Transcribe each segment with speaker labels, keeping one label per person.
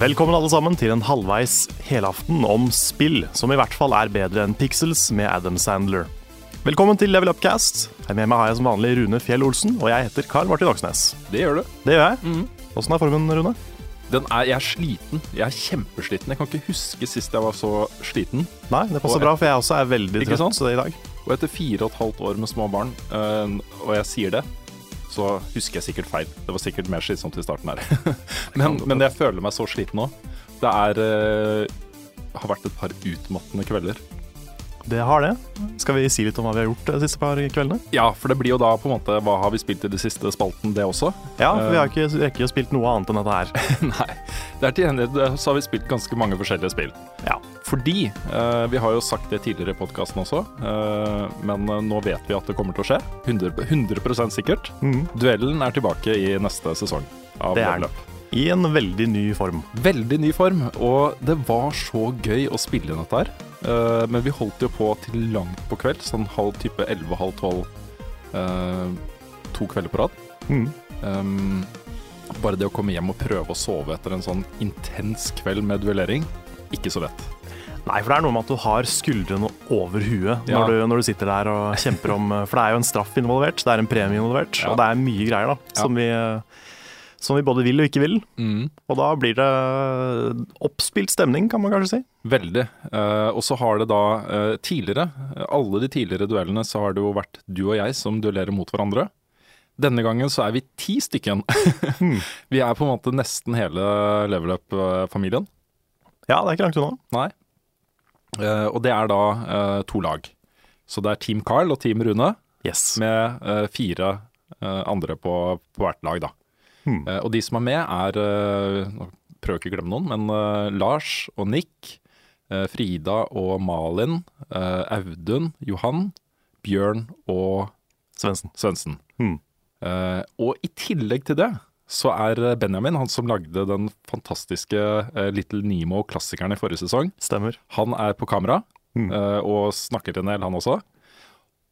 Speaker 1: Velkommen alle sammen til en halvveis helaften om spill, som i hvert fall er bedre enn Pixels med Adam Sandler. Velkommen til Level Upcast. Her med meg har jeg som vanlig Rune Fjell Olsen, og jeg heter Karl Martin Oksnes.
Speaker 2: Det gjør du.
Speaker 1: Det gjør jeg.
Speaker 2: Mhm.
Speaker 1: Åssen er formen, Rune?
Speaker 2: Den er, jeg er sliten. Jeg er kjempesliten. Jeg kan ikke huske sist jeg var så sliten.
Speaker 1: Nei, det passer
Speaker 2: Og-
Speaker 1: bra, for jeg også er veldig
Speaker 2: Ikke
Speaker 1: trøtt
Speaker 2: sant?
Speaker 1: så det i dag.
Speaker 2: Og etter fire og et halvt år med små barn, eh, og jeg sier det, så husker jeg sikkert feil. Det var sikkert mer slitsomt i starten her. men, men jeg føler meg så sliten nå. Det er eh, har vært et par utmattende kvelder.
Speaker 1: Det har det. Skal vi si litt om hva vi har gjort de siste par kveldene?
Speaker 2: Ja, for det blir jo da på en måte Hva har vi spilt i de siste spalten, det også?
Speaker 1: Ja, for vi
Speaker 2: Eh.
Speaker 1: har ikke rekker å spilt noe annet enn dette her.
Speaker 2: Nei. Det er til gjengjeld så har vi spilt ganske mange forskjellige spill.
Speaker 1: Ja.
Speaker 2: Fordi eh, vi har jo sagt det tidligere i podkasten også, eh, men eh, nå vet vi at det kommer til å skje. 100, 100 sikkert. Duellen er tilbake i neste sesong. Av
Speaker 1: Mm. Det er
Speaker 2: Level
Speaker 1: den.
Speaker 2: Up.
Speaker 1: I en veldig ny form.
Speaker 2: Veldig ny form, og det var så gøy å spille inn dette her. Eh, men vi holdt jo på til langt på kveld, sånn halv type 11, halv 12. eh, to kvelder på rad.
Speaker 1: Mhm.
Speaker 2: Um, bare det å komme hjem og prøve å sove etter en sånn intens kveld med duellering, ikke så lett.
Speaker 1: Nei, for det er noe med at du har skuldrene over huet
Speaker 2: Ja.
Speaker 1: når, du, når du sitter der og kjemper om For det er jo en straff involvert, det er en premie involvert,
Speaker 2: Ja.
Speaker 1: og det er mye greier da,
Speaker 2: Ja. Mm.
Speaker 1: som, vi, som vi både vil og ikke vil. Og da blir det oppspilt stemning, kan man kanskje si.
Speaker 2: Veldig. Eh, og så har det da eh, tidligere, eh, alle de tidligere duellene, så har det jo vært du og jeg som duellerer mot hverandre. Denne gangen så er vi ti stykken. vi er på en måte nesten hele level up-familien.
Speaker 1: Ja, det er ikke langt unna.
Speaker 2: Nei. Eh, og det er da eh, to lag. Så det er Team Carl og Team Rune.
Speaker 1: Yes.
Speaker 2: med eh, fire eh, andre på, på hvert lag. Da.
Speaker 1: Hmm.
Speaker 2: Eh, og de som er med, er eh, Nå prøver jeg ikke å glemme noen, men eh, Lars og Nick, eh, Frida og Malin, eh, Audun, Johan, Bjørn og
Speaker 1: Svendsen.
Speaker 2: Svendsen.
Speaker 1: Hmm.
Speaker 2: Eh, og i tillegg til det så er eh, Benjamin, han som lagde den fantastiske eh, Little Nemo-klassikeren i forrige sesong,
Speaker 1: Stemmer.
Speaker 2: han er på kamera
Speaker 1: Mm.
Speaker 2: eh, og snakker en del, han også.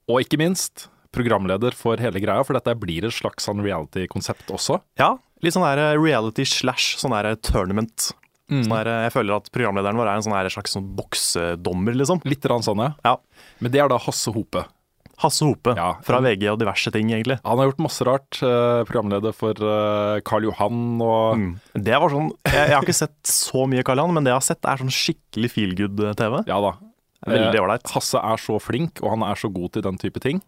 Speaker 2: Og ikke minst programleder for hele greia, for dette blir et slags sånn reality-konsept også.
Speaker 1: Ja, litt sånn der reality slash sånn der tournament.
Speaker 2: Mm.
Speaker 1: Sånn der, jeg føler at programlederen vår er en sånn der slags sånn boksedommer, liksom.
Speaker 2: Litt rann sånn, ja.
Speaker 1: Ja.
Speaker 2: Men det er da Hasse Hope.
Speaker 1: Hasse Hope
Speaker 2: Ja.
Speaker 1: fra VG og diverse ting, egentlig.
Speaker 2: Han har gjort masse rart. eh, programleder for eh, Karl Johan og
Speaker 1: Det var sånn, jeg, jeg har ikke sett så mye Karl Johan, men det jeg har sett er sånn skikkelig feel good-TV.
Speaker 2: Ja da.
Speaker 1: Veldig
Speaker 2: Eh,
Speaker 1: ålreit.
Speaker 2: Hasse er så flink, og han er så god til den type ting.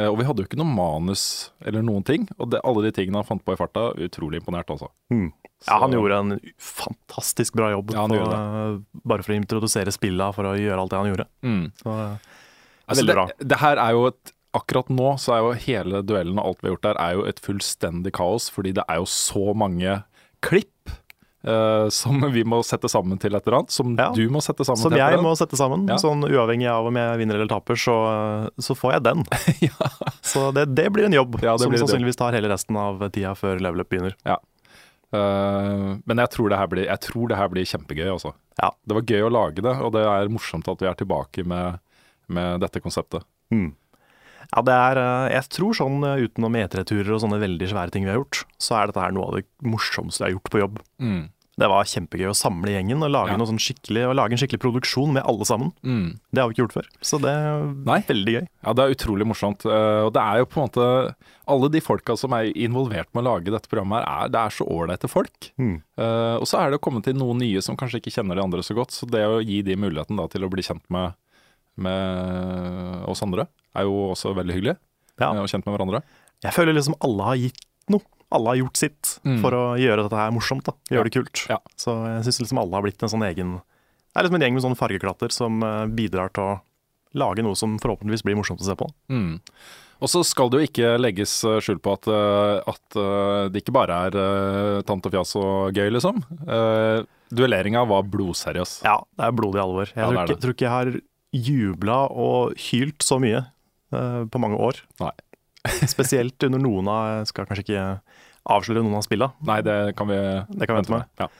Speaker 2: Eh, og vi hadde jo ikke noe manus eller noen ting. Og det, alle de tingene han fant på i farta, utrolig imponert, altså.
Speaker 1: Ja, han
Speaker 2: Så-
Speaker 1: gjorde en fantastisk bra jobb,
Speaker 2: Ja, han
Speaker 1: på,
Speaker 2: gjorde
Speaker 1: eh, bare for å introdusere spilla, for å gjøre alt det han gjorde.
Speaker 2: Mm.
Speaker 1: Så, eh,
Speaker 2: Altså,
Speaker 1: Veldig
Speaker 2: det, det her er jo et Akkurat nå så er jo hele duellen og alt vi har gjort der, er jo et fullstendig kaos. Fordi det er jo så mange klipp eh, som vi må sette sammen til et eller annet. Som
Speaker 1: Ja.
Speaker 2: du må sette sammen
Speaker 1: som
Speaker 2: til et
Speaker 1: jeg
Speaker 2: eller
Speaker 1: må
Speaker 2: annet.
Speaker 1: sette sammen,
Speaker 2: Ja.
Speaker 1: sånn uavhengig av om jeg vinner eller taper, så, eh, så får jeg den.
Speaker 2: ja.
Speaker 1: Så det, det blir en jobb,
Speaker 2: Ja, det
Speaker 1: som
Speaker 2: blir det.
Speaker 1: sannsynligvis tar hele resten av tida før level up begynner.
Speaker 2: Eh, men jeg tror, det her blir, jeg tror det her blir kjempegøy, altså.
Speaker 1: Ja.
Speaker 2: Det var gøy å lage det, og det er morsomt at vi er tilbake med, med dette konseptet.
Speaker 1: Ja, det er, eh, jeg tror sånn eh, utenom E3-turer og sånne veldig svære ting vi har gjort, så er dette her noe av det morsomste jeg har gjort på jobb.
Speaker 2: Mm.
Speaker 1: Det var kjempegøy å samle gjengen og lage,
Speaker 2: Ja.
Speaker 1: noe sånn skikkelig, og lage en skikkelig produksjon med alle sammen.
Speaker 2: Mm.
Speaker 1: Det har vi ikke gjort før, så det er
Speaker 2: Nei.
Speaker 1: veldig gøy.
Speaker 2: Ja, det er utrolig morsomt. Eh, Og det er jo på en måte Alle de folka som er involvert med å lage dette programmet, her, er, det er så ålreite folk.
Speaker 1: Mm.
Speaker 2: Eh, og så er det å komme til noen nye som kanskje ikke kjenner de andre så godt. Så det å gi de muligheten da, til å bli kjent med, med oss andre, er jo også veldig hyggelig.
Speaker 1: Ja.
Speaker 2: eh, Og kjent med hverandre.
Speaker 1: Jeg føler liksom alle har gitt noe. Alle har gjort sitt
Speaker 2: Mm.
Speaker 1: for å gjøre dette her morsomt, da. gjøre det kult.
Speaker 2: Ja.
Speaker 1: Så jeg syns liksom alle har blitt en sånn egen Det er liksom en gjeng med sånne fargeklatter som eh, bidrar til å lage noe som forhåpentligvis blir morsomt å se på.
Speaker 2: Mm. Og så skal det jo ikke legges eh, skjul på at, eh, at eh, det ikke bare er eh, tant og fjas og gøy, liksom. Eh, Duelleringa var blodseriøs.
Speaker 1: Ja, det er blodig alvor. Jeg
Speaker 2: Ja, det
Speaker 1: tror,
Speaker 2: er
Speaker 1: ikke,
Speaker 2: det.
Speaker 1: tror ikke jeg har jubla og hylt så mye eh, på mange år.
Speaker 2: Nei.
Speaker 1: Spesielt under noen av Jeg skal kanskje ikke avsløre noen av spilla,
Speaker 2: Nei, det kan vi
Speaker 1: det kan vi vente med.
Speaker 2: Ja.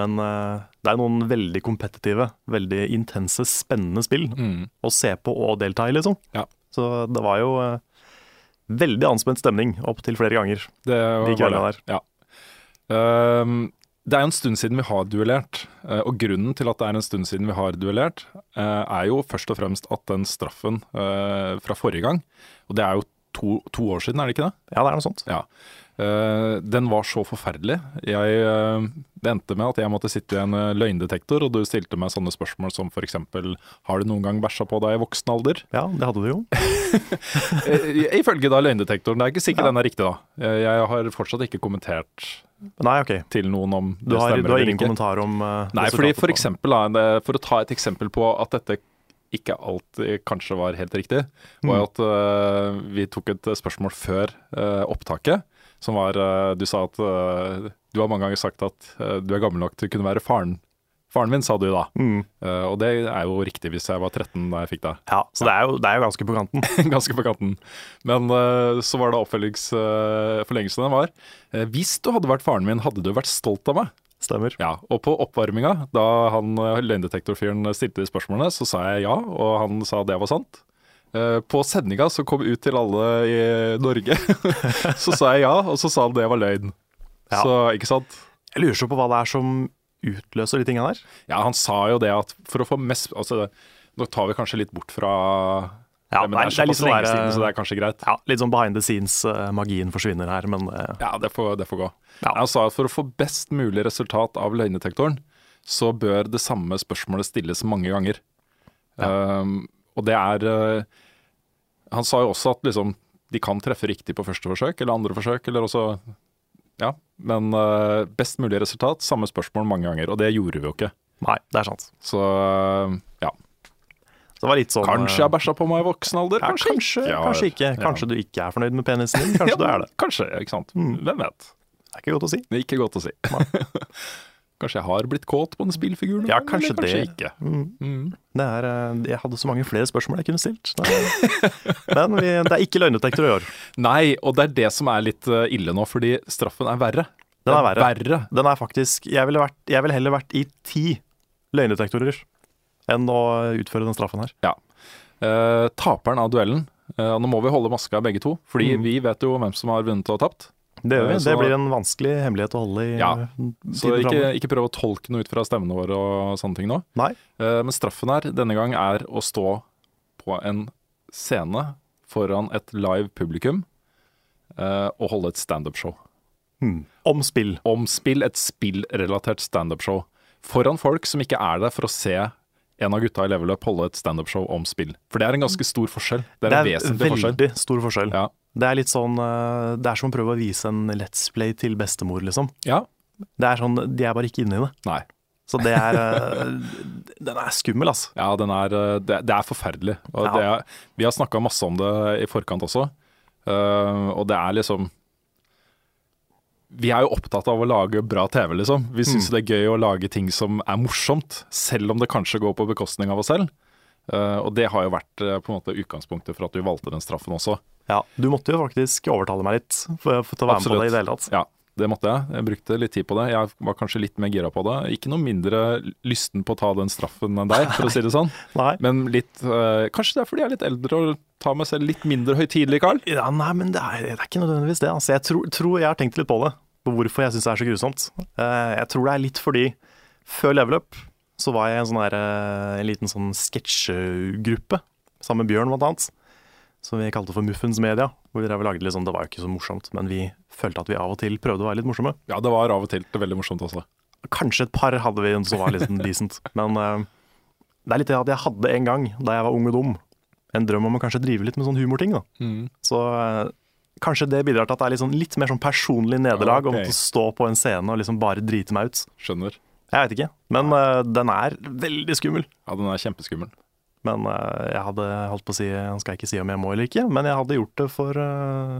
Speaker 1: Men eh, det er noen veldig kompetitive, veldig intense, spennende spill
Speaker 2: Mm.
Speaker 1: å se på og delta i, liksom.
Speaker 2: Ja.
Speaker 1: Så det var jo eh, veldig anspent stemning opptil flere ganger.
Speaker 2: Det
Speaker 1: De
Speaker 2: var
Speaker 1: kveldene
Speaker 2: det. Ja. Ehm, det er jo en stund siden vi har duellert, eh, og grunnen til at det er en stund siden vi har duellert, eh, er jo først og fremst at den straffen eh, fra forrige gang, og det er jo to, to år siden, er det ikke det?
Speaker 1: Ja, det er noe sånt.
Speaker 2: Ja. Eh, den var så forferdelig. Jeg, eh, det endte med at jeg måtte sitte i en eh, løgndetektor, og du stilte meg sånne spørsmål som f.eks.: Har du noen gang bæsja på deg i voksen alder?
Speaker 1: Ja, det hadde du jo.
Speaker 2: Eh, Ifølge da løgndetektoren. Det er ikke sikkert den er riktig, da. Eh, Jeg har fortsatt ikke kommentert
Speaker 1: Nei, OK.
Speaker 2: til noen om det
Speaker 1: Du har,
Speaker 2: stemmer
Speaker 1: du har
Speaker 2: eller
Speaker 1: ingen
Speaker 2: ikke.
Speaker 1: kommentar om eh,
Speaker 2: Nei, fordi
Speaker 1: resultatet
Speaker 2: for,
Speaker 1: på-
Speaker 2: eksempel, da, det- for å ta et eksempel på at dette ikke alltid kanskje var helt riktig,
Speaker 1: Mm.
Speaker 2: var jo at øh, vi tok et spørsmål før øh, opptaket, som var øh, Du sa at øh, Du har mange ganger sagt at øh, du er gammel nok til å kunne være faren. Faren min, sa du da.
Speaker 1: Mm.
Speaker 2: Eh, og det er jo riktig hvis jeg var 13 da jeg fikk deg.
Speaker 1: Ja, så det er, jo, det er jo ganske på kanten.
Speaker 2: Ganske på kanten. Men eh, så var det oppfølgingsforlengelsen den var. eh, hvis du hadde vært faren min, hadde du vært stolt av meg?
Speaker 1: Stemmer.
Speaker 2: Ja, og på oppvarminga, da han eh, løgndetektorfyren stilte de spørsmålene, så sa jeg ja, og han sa det var sant. Eh, På sendinga som kom ut til alle i Norge, så sa jeg ja, og så sa han det var løgn.
Speaker 1: Ja.
Speaker 2: Så, ikke sant?
Speaker 1: Jeg lurer så på hva det er som utløser de tinga der.
Speaker 2: Ja, han sa jo det at for å få mest Altså, nå tar vi kanskje litt bort fra
Speaker 1: Ja,
Speaker 2: men det
Speaker 1: nei,
Speaker 2: er
Speaker 1: det er litt
Speaker 2: såpass
Speaker 1: sånn
Speaker 2: lenge
Speaker 1: der,
Speaker 2: siden, så det er kanskje greit.
Speaker 1: Ja, Litt sånn behind the scenes-magien forsvinner her, men eh,
Speaker 2: Ja, det får, det får gå.
Speaker 1: Ja.
Speaker 2: Han sa at for å få best mulig resultat av løgndetektoren, så bør det samme spørsmålet stilles mange ganger. Um, og det er eh, Han sa jo også at liksom, de kan treffe riktig på første forsøk eller andre forsøk, eller også Ja. Men eh, best mulig resultat, samme spørsmål mange ganger. Og det gjorde vi jo ikke.
Speaker 1: nei, det er sant.
Speaker 2: Så eh, ja.
Speaker 1: Så det var litt sånn
Speaker 2: Kanskje jeg bæsja på meg i voksen alder,
Speaker 1: ja,
Speaker 2: kanskje,
Speaker 1: kanskje,
Speaker 2: ikke. Ja,
Speaker 1: kanskje ikke.
Speaker 2: ja.
Speaker 1: Kanskje du ikke er fornøyd med penisen din. Kanskje
Speaker 2: Ja,
Speaker 1: du er det. Mm.
Speaker 2: Kanskje, ikke sant. Hvem vet.
Speaker 1: Det er ikke godt å si.
Speaker 2: Det er ikke godt å si. kanskje jeg har blitt kåt på en spillfigur noen
Speaker 1: Ja,
Speaker 2: gang, eller
Speaker 1: kanskje det.
Speaker 2: Kanskje ikke.
Speaker 1: Mm. Det er, eh, jeg hadde så mange flere spørsmål jeg kunne stilt. Det er- Men vi, det er ikke løgndetektor i år.
Speaker 2: Nei, og det er det som er litt eh, ille nå, fordi straffen er verre.
Speaker 1: Den er verre.
Speaker 2: verre.
Speaker 1: Den er faktisk Jeg ville, vært, jeg ville heller vært i ti løgndetektorer enn å utføre den straffen her.
Speaker 2: Ja. Eh, taperen av duellen. eh, og nå må vi holde maska begge to, fordi
Speaker 1: Mm.
Speaker 2: vi vet jo hvem som har vunnet og tapt.
Speaker 1: Det, gjør vi.
Speaker 2: Eh,
Speaker 1: det
Speaker 2: så-
Speaker 1: blir en vanskelig hemmelighet å holde i
Speaker 2: Ja,
Speaker 1: eh,
Speaker 2: Så
Speaker 1: tiden
Speaker 2: ikke,
Speaker 1: framover.
Speaker 2: ikke prøv å tolke noe ut fra stemmene våre og sånne ting nå.
Speaker 1: Nei.
Speaker 2: Eh, men straffen her denne gang er å stå på en scene foran et live publikum eh, og holde et standup-show.
Speaker 1: Hmm. Om spill.
Speaker 2: om spill, et spillrelatert standup-show. Foran folk som ikke er der for å se en av gutta i Level Up holde et standup-show om spill. For det er en ganske stor forskjell. Det er en vesentlig
Speaker 1: veldig
Speaker 2: forskjell.
Speaker 1: stor forskjell.
Speaker 2: Ja.
Speaker 1: Det er litt sånn eh, Det er som å prøve å vise en Let's Play til bestemor, liksom.
Speaker 2: ja.
Speaker 1: Det er sånn, De er bare ikke inne i det.
Speaker 2: Nei.
Speaker 1: Så det er eh, Den er skummel, altså.
Speaker 2: Ja, den er, eh, det, det er forferdelig. Og
Speaker 1: Ja.
Speaker 2: det er, vi har snakka masse om det i forkant også. Eh, og det er liksom Vi er jo opptatt av å lage bra TV, liksom. Vi syns det er gøy å lage ting som er morsomt, selv om det kanskje går på bekostning av oss selv. Eh, og det har jo vært eh, på en måte utgangspunktet for at vi valgte den straffen også.
Speaker 1: Ja, du måtte jo faktisk overtale meg litt for, for til å være med på det i det hele tatt.
Speaker 2: Ja, det måtte jeg. Jeg brukte litt tid på det. Jeg var kanskje litt mer gira på det. Ikke noe mindre lysten på å ta den straffen enn deg, for å si det sånn.
Speaker 1: Nei.
Speaker 2: Men litt eh, Kanskje det er fordi jeg er litt eldre og tar meg selv litt mindre høytidelig, Carl?
Speaker 1: Ja, nei, men det er, det er ikke nødvendigvis det. Altså, jeg tror, tror jeg har tenkt litt på det, på hvorfor jeg syns det er så grusomt. Eh, jeg tror det er litt fordi før Level Up så var jeg i en, sånn der, eh, en liten sånn sketsjegruppe sammen med Bjørn, blant annet. Som vi kalte for Muffens Media. Hvor vi drev og lagde litt sånn, Det var jo ikke så morsomt, men vi følte at vi av og til prøvde å være litt morsomme.
Speaker 2: Ja, det var av og til veldig morsomt også.
Speaker 1: Kanskje et par hadde vi som var litt sånn decent. Men eh, det er litt det at jeg hadde en gang, da jeg var ung og dum, en drøm om å kanskje drive litt med sånn humorting. da.
Speaker 2: Mm.
Speaker 1: Så eh, kanskje det bidrar til at det er litt, sånn, litt mer sånn personlig nederlag å
Speaker 2: Ok.
Speaker 1: måtte stå på en scene og liksom bare drite meg ut.
Speaker 2: Skjønner.
Speaker 1: Jeg veit ikke. Men eh, den er veldig skummel.
Speaker 2: Ja, den er kjempeskummel.
Speaker 1: Men eh, jeg hadde holdt på å si Nå skal jeg ikke si om jeg må eller ikke, men jeg hadde gjort det for eh,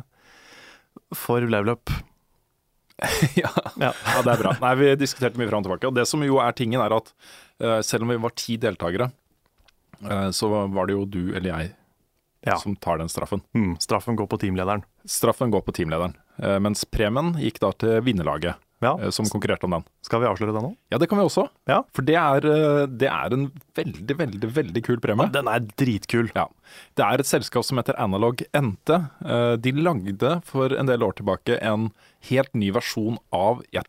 Speaker 1: For level up.
Speaker 2: ja.
Speaker 1: Ja.
Speaker 2: ja, det er bra. Nei, Vi diskuterte mye fram og tilbake. Og det som jo er tingen, er at eh, selv om vi var ti deltakere, eh, så var det jo du eller jeg
Speaker 1: Ja.
Speaker 2: som tar den straffen.
Speaker 1: Mm, straffen går på teamlederen.
Speaker 2: Straffen går på teamlederen, eh, mens premien gikk da til vinnerlaget,
Speaker 1: Ja,
Speaker 2: eh, som konkurrerte om den.
Speaker 1: Skal vi avsløre det nå?
Speaker 2: Ja, det kan vi også.
Speaker 1: Ja.
Speaker 2: For det er, eh, det er en veldig, veldig veldig kul premie.
Speaker 1: Den er dritkul.
Speaker 2: Ja. Det er et selskap som heter Analog NT. Eh, De lagde for en del år tilbake en helt ny versjon av ja,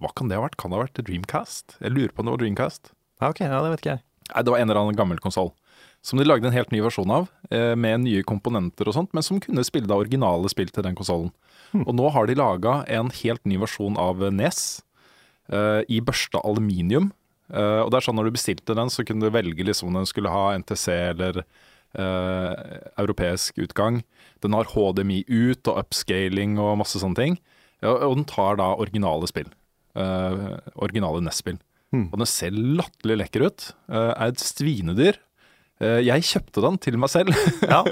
Speaker 2: Hva kan det ha vært? Kan det ha vært Dreamcast? Jeg lurer på om det var
Speaker 1: Ja,
Speaker 2: Dreamcast.
Speaker 1: Ah, ok, ja, Det vet ikke jeg.
Speaker 2: Nei, det var en eller annen gammel konsoll. Som de lagde en helt ny versjon av, eh, med nye komponenter og sånt, men som kunne spille da originale spill til den konsollen. Og nå har de laga en helt ny versjon av eh, NES, eh, i børsta aluminium. Eh, og det er sånn når du bestilte den, så kunne du velge liksom om den skulle ha NTC eller eh, europeisk utgang. Den har HDMI ut og upscaling og masse sånne ting. Ja, og den tar da originale spill. Eh, originale NES-spill. Og den ser latterlig lekker ut. Eh, er et svinedyr. Eh, jeg kjøpte den til meg selv.
Speaker 1: Ja.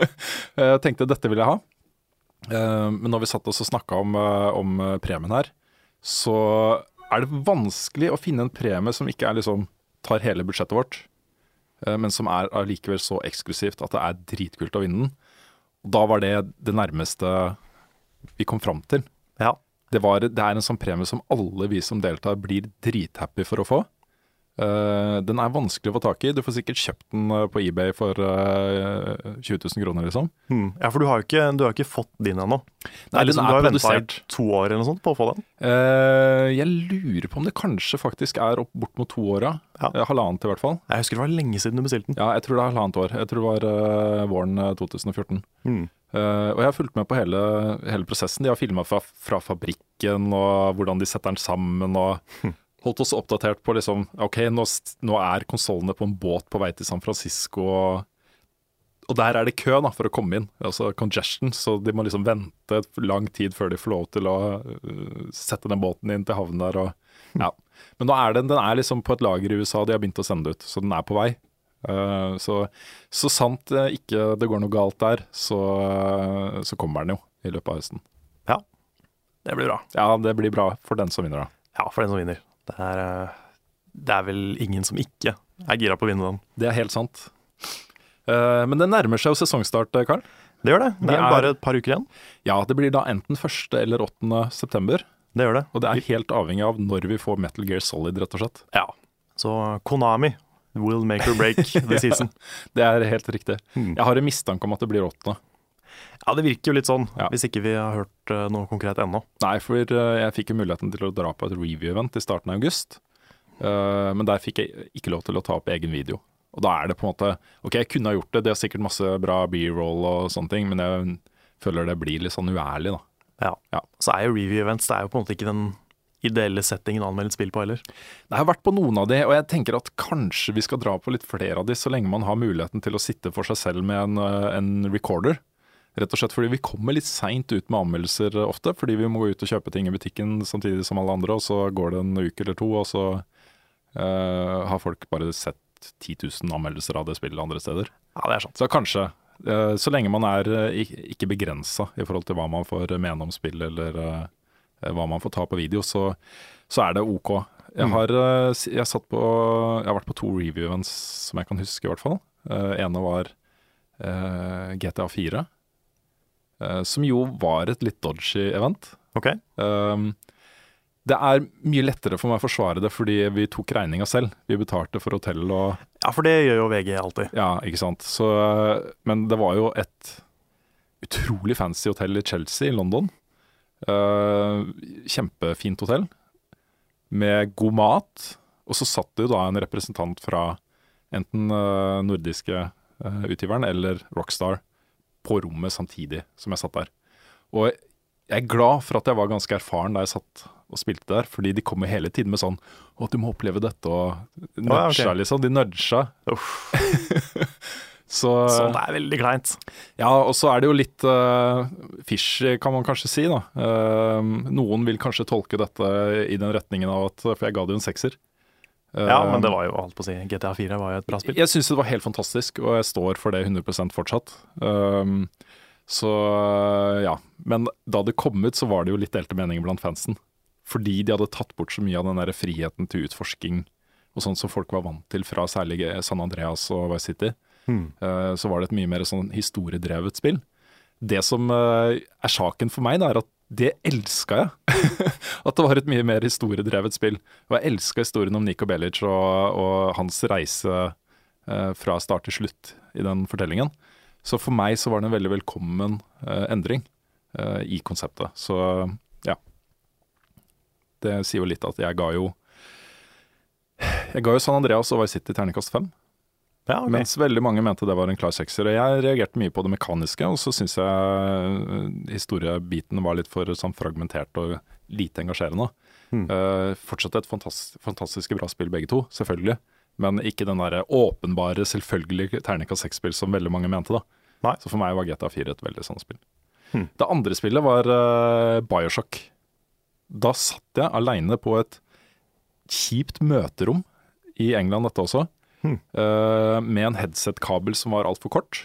Speaker 2: Eh, tenkte dette vil jeg ha. Eh, men når vi satt oss og snakka om, eh, om eh, premien her, så er det vanskelig å finne en premie som ikke er liksom tar hele budsjettet vårt, eh, men som er allikevel så eksklusivt at det er dritkult å vinne den. Og Da var det det nærmeste vi kom fram til.
Speaker 1: Ja.
Speaker 2: Det, var, det er en sånn premie som alle vi som deltar blir drithappy for å få. Eh, den er vanskelig å få tak i. Du får sikkert kjøpt den eh, på eBay for eh, 20 000 kroner, liksom.
Speaker 1: Mm. ja, for du har jo ikke, du har ikke fått din ennå.
Speaker 2: Nei,
Speaker 1: Eller
Speaker 2: den
Speaker 1: liksom,
Speaker 2: er
Speaker 1: du har
Speaker 2: produsert.
Speaker 1: venta i to år eller noe sånt på å få den.
Speaker 2: Eh, jeg lurer på om det kanskje faktisk er opp bort mot to åra.
Speaker 1: Ja.
Speaker 2: Eh, Halvannet i hvert fall.
Speaker 1: Jeg husker det var lenge siden du bestilte den.
Speaker 2: Ja, jeg tror det er halvannet år. Jeg tror det var eh, våren eh, 2014.
Speaker 1: Mm.
Speaker 2: Eh, og jeg har fulgt med på hele, hele prosessen. De har filma fra, fra fabrikken og hvordan de setter den sammen. og Holdt oss oppdatert på liksom, ok, nå, s- nå er konsollene på en båt på vei til San Francisco. Og, og der er det kø da, for å komme inn, altså congestion. Så de må liksom vente lang tid før de får lov til å eh, sette den båten inn til havnen der. Og, ja. Men nå er den, den er liksom på et lager i USA, de har begynt å sende det ut. Så den er på vei. Eh, så så sant eh, ikke det går noe galt der, så, eh, så kommer den jo i løpet av høsten.
Speaker 1: Ja. Det blir bra.
Speaker 2: Ja, det blir bra for den som vinner, da.
Speaker 1: Ja, for den som vinner. Det er, eh, det er vel ingen som ikke er gira på å vinne den.
Speaker 2: Det er helt sant. Eh, Men det nærmer seg jo sesongstart, eh, Karl.
Speaker 1: Det gjør det.
Speaker 2: Vi
Speaker 1: Det er
Speaker 2: er-
Speaker 1: bare et par uker igjen.
Speaker 2: Ja, det blir da enten 1. eller 8. september.
Speaker 1: Det gjør det.
Speaker 2: Og det er helt avhengig av når vi får Metal Gear Solid, rett og slett.
Speaker 1: Ja. Så Konami will make or break this season.
Speaker 2: Det er helt riktig.
Speaker 1: Hmm.
Speaker 2: Jeg har en mistanke om at det blir 8.
Speaker 1: Ja, det virker jo litt sånn,
Speaker 2: Ja.
Speaker 1: hvis ikke vi har hørt eh, noe konkret ennå.
Speaker 2: Nei, for eh, jeg fikk jo muligheten til å dra på et review-event i starten av august. Eh, Men der fikk jeg ikke lov til å ta opp egen video. Og da er det på en måte Ok, jeg kunne ha gjort det, det er sikkert masse bra b-roll og sånne ting, men jeg føler det blir litt sånn uærlig, da.
Speaker 1: Ja.
Speaker 2: Ja.
Speaker 1: Så er jo review events det er jo på en måte ikke den ideelle settingen å anmelde et spill på heller.
Speaker 2: Jeg har vært på noen av de, og jeg tenker at kanskje vi skal dra på litt flere av de, så lenge man har muligheten til å sitte for seg selv med en, eh, en recorder. Rett og slett fordi vi kommer litt seint ut med anmeldelser eh, ofte, fordi vi må gå ut og kjøpe ting i butikken samtidig som alle andre, og så går det en uke eller to, og så eh, har folk bare sett 10 000 anmeldelser av det spillet andre steder.
Speaker 1: Ja, det er sånn. sant.
Speaker 2: Så kanskje, eh, så lenge man er eh, ik- ikke begrensa i forhold til hva man får mene om spill, eller eh, hva man får ta på video, så, så er det OK. Jeg har, eh, s- jeg satt på, jeg har vært på to review-events som jeg kan huske, i hvert fall. Uh, ene var eh, GTA 4, eh, som jo var et litt dodgy event.
Speaker 1: Ok.
Speaker 2: Um, det er mye lettere for meg å forsvare det fordi vi tok regninga selv. Vi betalte for hotell og
Speaker 1: Ja, for det gjør jo VG alltid.
Speaker 2: ja, ikke sant. Så, men det var jo et utrolig fancy hotell i Chelsea i London. Eh, kjempefint hotell med god mat. Og så satt det jo da en representant fra enten eh, nordiske eh, utgiveren eller Rockstar på rommet samtidig som jeg satt der. Og jeg er glad for at jeg var ganske erfaren da jeg satt og spilte der, fordi de kommer hele tiden med sånn Å, du må oppleve dette, og nudga,
Speaker 1: ja, ok.
Speaker 2: liksom. De nudga.
Speaker 1: Uff.
Speaker 2: Så,
Speaker 1: Sånn, det er veldig kleint.
Speaker 2: ja, og så er det jo litt eh, fishy, kan man kanskje si. da. Eh, noen vil kanskje tolke dette i den retningen av at For jeg ga det jo en sekser.
Speaker 1: Ja, men det var jo holdt på å si GTA 4 var jo et bra spill.
Speaker 2: Jeg syns det var helt fantastisk, og jeg står for det 100 fortsatt. Um, så øh, ja. Men da det kom ut, så var det jo litt delte meninger blant fansen. Fordi de hadde tatt bort så mye av den der friheten til utforsking og sånn som folk var vant til fra særlig eh, San Andreas og Vice City.
Speaker 1: Hmm.
Speaker 2: Eh, så var det et mye mer sånn historiedrevet spill. Det som eh, er saken for meg, da, er at det elska jeg. at det var et mye mer historiedrevet spill. Og jeg elska historien om Niko Bellic og, og hans reise eh, fra start til slutt i den fortellingen. Så for meg så var det en veldig velkommen eh, endring eh, i konseptet. Så ja. Det sier jo litt at jeg ga jo Jeg ga jo San Andreas og Vice City terningkast fem.
Speaker 1: Ja, ok.
Speaker 2: Mens veldig mange mente det var en klar sekser. Og jeg reagerte mye på det mekaniske, og så syns jeg øh, historiebiten var litt for sånn fragmentert og lite engasjerende.
Speaker 1: Hmm.
Speaker 2: Eh, fortsatt et fantas fantastisk bra spill begge to, selvfølgelig. Men ikke den der åpenbare, selvfølgelig terningkast seks-spill som veldig mange mente, da.
Speaker 1: Nei.
Speaker 2: Så for meg var GTA 4 et veldig sånt spill.
Speaker 1: Hmm.
Speaker 2: Det andre spillet var eh, Bioshock. Da satt jeg aleine på et kjipt møterom i England, dette også.
Speaker 1: Hmm.
Speaker 2: eh, med en headset-kabel som var altfor kort.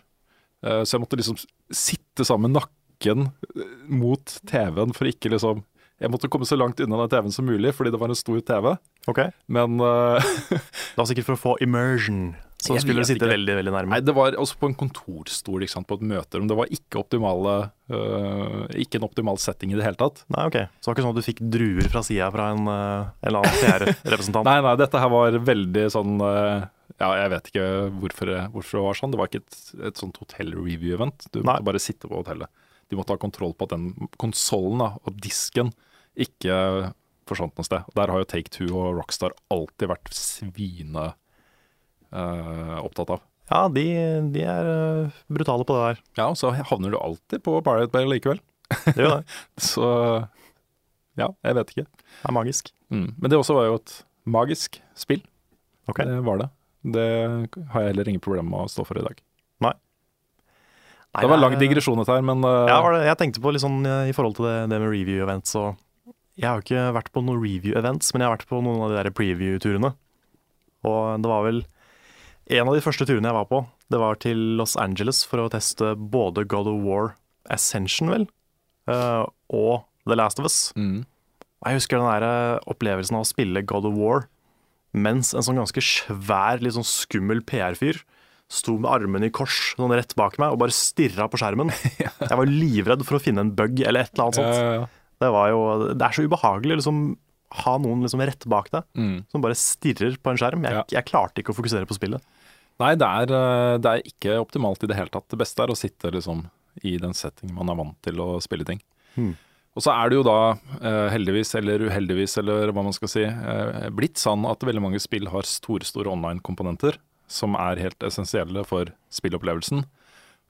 Speaker 2: Eh, så jeg måtte liksom s- sitte sammen med nakken eh, mot TV-en for ikke liksom Jeg måtte komme så langt unna den TV-en som mulig, fordi det var en stor TV.
Speaker 1: ok. Det
Speaker 2: Men eh,
Speaker 1: var sikkert for å få immersion, så
Speaker 2: Jeg
Speaker 1: skulle du
Speaker 2: vet
Speaker 1: sitte
Speaker 2: ikke.
Speaker 1: veldig veldig nærme.
Speaker 2: Nei, det var også på en kontorstol, ikke sant, på et møterom. Det var ikke optimale eh, Ikke en optimal setting i det hele tatt.
Speaker 1: Nei, ok. Så det var ikke sånn at du fikk druer fra sida fra en, eh, en eller annen PR-representant?
Speaker 2: Nei, nei, dette her var veldig sånn eh, Ja, jeg vet ikke hvorfor, det- hvorfor det var sånn. Det var ikke et, et sånt hotell-review-event. Du
Speaker 1: Nei.
Speaker 2: måtte bare sitte på hotellet. De måtte ha kontroll på at den konsollen og disken ikke forsvant noe sted. Og Der har jo Take Two og Rockstar alltid vært svine eh, opptatt av.
Speaker 1: Ja, de, de er eh, brutale på det der.
Speaker 2: Ja, og så havner du alltid på Pirate Bay likevel.
Speaker 1: Det er jo det.
Speaker 2: Så ja, jeg vet ikke.
Speaker 1: Det er magisk.
Speaker 2: Mm. Men det også var jo et magisk spill.
Speaker 1: Ok.
Speaker 2: Det var det. Det har jeg heller ingen problemer med å stå for i dag.
Speaker 1: Nei,
Speaker 2: det var
Speaker 1: er-
Speaker 2: lang digresjon dette her, men uh,
Speaker 1: Ja, var det, jeg tenkte på litt sånn eh, i forhold til det, det med review-events og Jeg har jo ikke vært på noen review-events, men jeg har vært på noen av de der preview-turene. Og det var vel En av de første turene jeg var på, det var til Los Angeles for å teste både God of War Ascension, vel, eh, og The Last of Us.
Speaker 2: mm.
Speaker 1: Og Jeg husker den der eh, opplevelsen av å spille God of War mens en sånn ganske svær, litt sånn skummel PR-fyr sto med armene i kors sånn rett bak meg og bare stirra på skjermen. Jeg var livredd for å finne en bug eller et eller annet sånt.
Speaker 2: Ja, ja, ja.
Speaker 1: Det, var jo, det er så ubehagelig å liksom, ha noen liksom rett bak deg
Speaker 2: Mm.
Speaker 1: som bare stirrer på en skjerm. Jeg,
Speaker 2: Ja.
Speaker 1: jeg klarte ikke å fokusere på spillet.
Speaker 2: Nei, det er, eh, det er ikke optimalt i det hele tatt. Det beste er å sitte liksom, i den settingen man er vant til å spille ting.
Speaker 1: Hmm.
Speaker 2: Og så er det jo da, eh, heldigvis eller uheldigvis, eller hva man skal si, eh, blitt sånn at veldig mange spill har store, store online-komponenter som er helt essensielle for spillopplevelsen.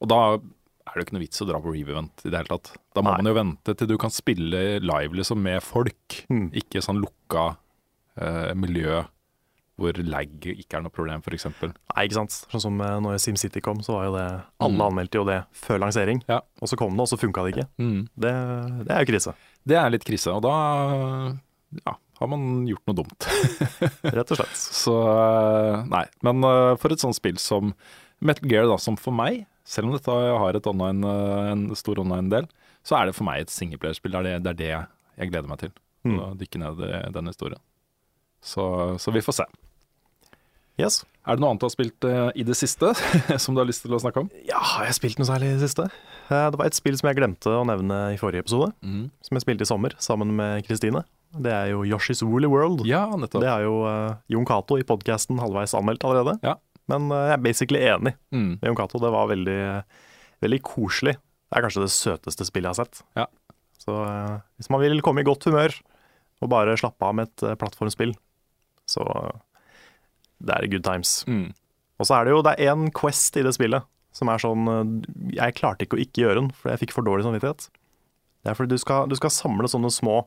Speaker 2: Og da er det jo ikke noe vits å dra på review-event i det hele tatt. Da må
Speaker 1: Nei.
Speaker 2: man jo vente til du kan spille live liksom med folk,
Speaker 1: Hmm.
Speaker 2: ikke sånn lukka eh, miljø hvor lag ikke er noe problem, f.eks.
Speaker 1: Nei, ikke sant. Sånn som eh, når SimCity kom, så var jo det Alle
Speaker 2: Mm.
Speaker 1: anmeldte jo det før lansering.
Speaker 2: Ja.
Speaker 1: Og så kom det, og så funka det ikke.
Speaker 2: Mm.
Speaker 1: Det, det er jo krise,
Speaker 2: Det er litt krise, og da ja, har man gjort noe dumt.
Speaker 1: rett og slett.
Speaker 2: Så eh, nei. Men eh, for et sånt spill som Metal Gear, da, som for meg, selv om dette har et online, eh, en stor online-del, så er det for meg et singleplayerspill. Det, er det- det er det jeg gleder meg til.
Speaker 1: Mm.
Speaker 2: Å dykke ned i den historien. Så, så vi får se.
Speaker 1: Yes.
Speaker 2: Er det noe annet du har spilt eh, i det siste som du har lyst til å snakke om?
Speaker 1: Ja, har jeg spilt noe særlig i det siste? Eh, Det var et spill som jeg glemte å nevne i forrige episode,
Speaker 2: Mm.
Speaker 1: som jeg spilte i sommer sammen med Kristine. Det er jo Yoshi's Woolly World.
Speaker 2: Ja, nettopp.
Speaker 1: Det er jo eh, Jon Cato i podkasten halvveis anmeldt allerede.
Speaker 2: Ja.
Speaker 1: Men eh, jeg er basically enig
Speaker 2: Mm.
Speaker 1: med Jon Cato. Det var veldig, veldig koselig. Det er kanskje det søteste spillet jeg har sett.
Speaker 2: Ja.
Speaker 1: Så eh, hvis man vil komme i godt humør og bare slappe av med et eh, plattformspill, så eh, det er good times.
Speaker 2: Mm.
Speaker 1: Og så er det jo det er én quest i det spillet som er sånn eh, Jeg klarte ikke å ikke gjøre den, for jeg fikk for dårlig samvittighet. Det er fordi du skal, du skal samle sånne små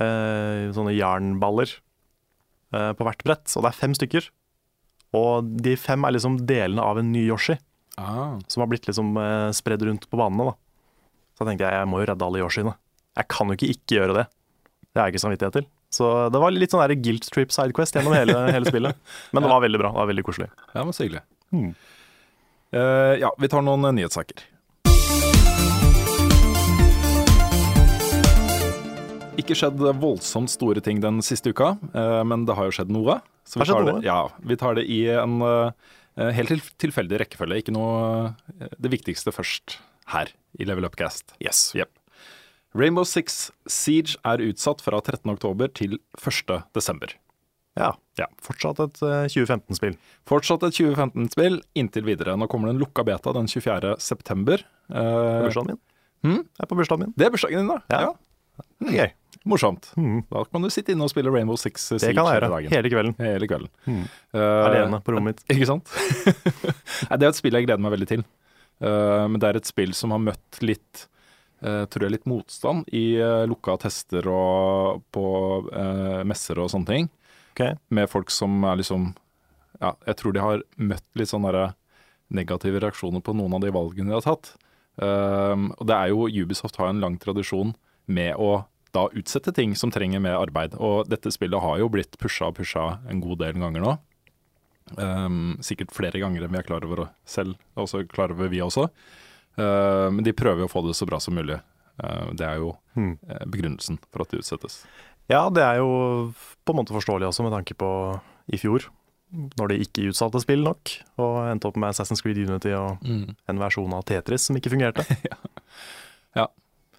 Speaker 1: eh, sånne jernballer eh, på hvert brett, og det er fem stykker. Og de fem er liksom delene av en ny Yoshi,
Speaker 2: Ah.
Speaker 1: som har blitt liksom eh, spredd rundt på banene. da. Så da tenkte jeg jeg må jo redde alle Yoshiene. Jeg kan jo ikke ikke gjøre det. Det har jeg ikke samvittighet til. Så det var litt sånn der guilt trip sidequest gjennom hele, hele spillet. Men det var veldig bra. det var veldig koselig.
Speaker 2: Ja, men så hyggelig.
Speaker 1: Hmm.
Speaker 2: Eh, ja, vi tar noen eh, nyhetssaker. Ikke skjedd voldsomt store ting den siste uka, eh, men det har jo skjedd noe. Så vi
Speaker 1: Har skjedd
Speaker 2: tar
Speaker 1: noe?
Speaker 2: Det, ja, vi tar det i en eh, helt til- tilfeldig rekkefølge. Ikke noe eh, Det viktigste først her i Level Upcast.
Speaker 1: Yes.
Speaker 2: Jepp. Rainbow Six Siege er utsatt fra 13.10 til 1.12.
Speaker 1: Ja.
Speaker 2: Ja.
Speaker 1: Fortsatt et eh, 2015-spill.
Speaker 2: Fortsatt et 2015-spill inntil videre. Nå kommer det en lukka beta den 24. september.
Speaker 1: Det er
Speaker 2: Eh,
Speaker 1: bursdagen min.
Speaker 2: Hmm?
Speaker 1: Det er på bursdagen min.
Speaker 2: det er bursdagen din, da.
Speaker 1: Ja. Det er Gøy.
Speaker 2: Morsomt.
Speaker 1: Mhm.
Speaker 2: Da kan du sitte inne og spille Rainbow Six eh, Siege
Speaker 1: Det kan jeg
Speaker 2: hele
Speaker 1: gjøre.
Speaker 2: dagen.
Speaker 1: Hele kvelden.
Speaker 2: Hele kvelden.
Speaker 1: Mhm.
Speaker 2: Eh,
Speaker 1: Alene på rommet mitt.
Speaker 2: Ikke sant? Nei, det er et spill jeg gleder meg veldig til. Eh, men det er et spill som har møtt litt eh, tror jeg litt motstand i eh, lukka tester og på eh, messer og sånne ting.
Speaker 1: Ok.
Speaker 2: med folk som er liksom Ja, jeg tror de har møtt litt sånne der negative reaksjoner på noen av de valgene de har tatt. Um, og det er jo Ubisoft har en lang tradisjon med å da utsette ting som trenger mer arbeid. Og dette spillet har jo blitt pusha og pusha en god del ganger nå. Um, sikkert flere ganger enn vi er klar over selv, og så klar over vi også. Uh, men de prøver jo å få det så bra som mulig. Uh, det er jo
Speaker 1: Hmm.
Speaker 2: eh, begrunnelsen for at det utsettes.
Speaker 1: Ja, det er jo på en måte forståelig også, med tanke på i fjor. Når de ikke utsatte spill nok, og endte opp med Assassin's Creed Unity og en versjon av Tetris som ikke fungerte.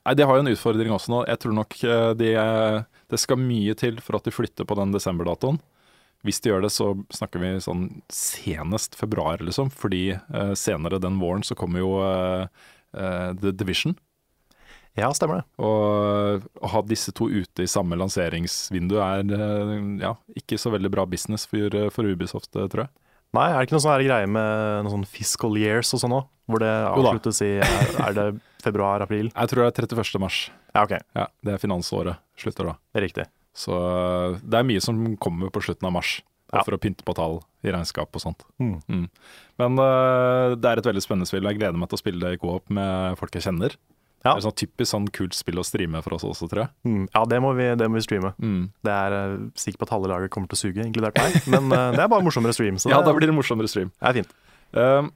Speaker 2: Nei, De har jo en utfordring også nå. Jeg tror nok eh, de, eh, det skal mye til for at de flytter på den desemberdatoen. Hvis de gjør det, så snakker vi sånn senest februar, liksom. Fordi eh, senere den våren så kommer jo eh, eh, The Division.
Speaker 1: Ja, stemmer det.
Speaker 2: Og eh, å ha disse to ute i samme lanseringsvindu er eh, ja, ikke så veldig bra business for, for Ubisoft, eh, tror jeg.
Speaker 1: Nei, er det ikke noe sånn her greie med noen sånn fiscal years og sånn òg? Hvor det
Speaker 2: Jo da.
Speaker 1: avsluttes i er, er det februar-april?
Speaker 2: Jeg tror det er 31. mars.
Speaker 1: Ja, OK.
Speaker 2: Ja, det er finansåret slutter da.
Speaker 1: Det er riktig.
Speaker 2: Så eh, det er mye som kommer på slutten av mars.
Speaker 1: Ja.
Speaker 2: For å pynte på tall i regnskap og sånt.
Speaker 1: Mm.
Speaker 2: Mm. Men øh, det er et veldig spennende spill, og jeg gleder meg til å spille det i co-op med folk jeg kjenner.
Speaker 1: Ja.
Speaker 2: Det er sånn typisk sånn kult spill å streame for oss også, tror jeg.
Speaker 1: Mm. Ja, det må, vi, det må vi streame.
Speaker 2: Mm.
Speaker 1: Det er eh, sikkert på at halve laget kommer til å suge, inkludert meg. Men eh, det er bare morsommere stream, så
Speaker 2: Ja, da
Speaker 1: det
Speaker 2: blir det morsommere stream.
Speaker 1: er fint.
Speaker 2: Ehm,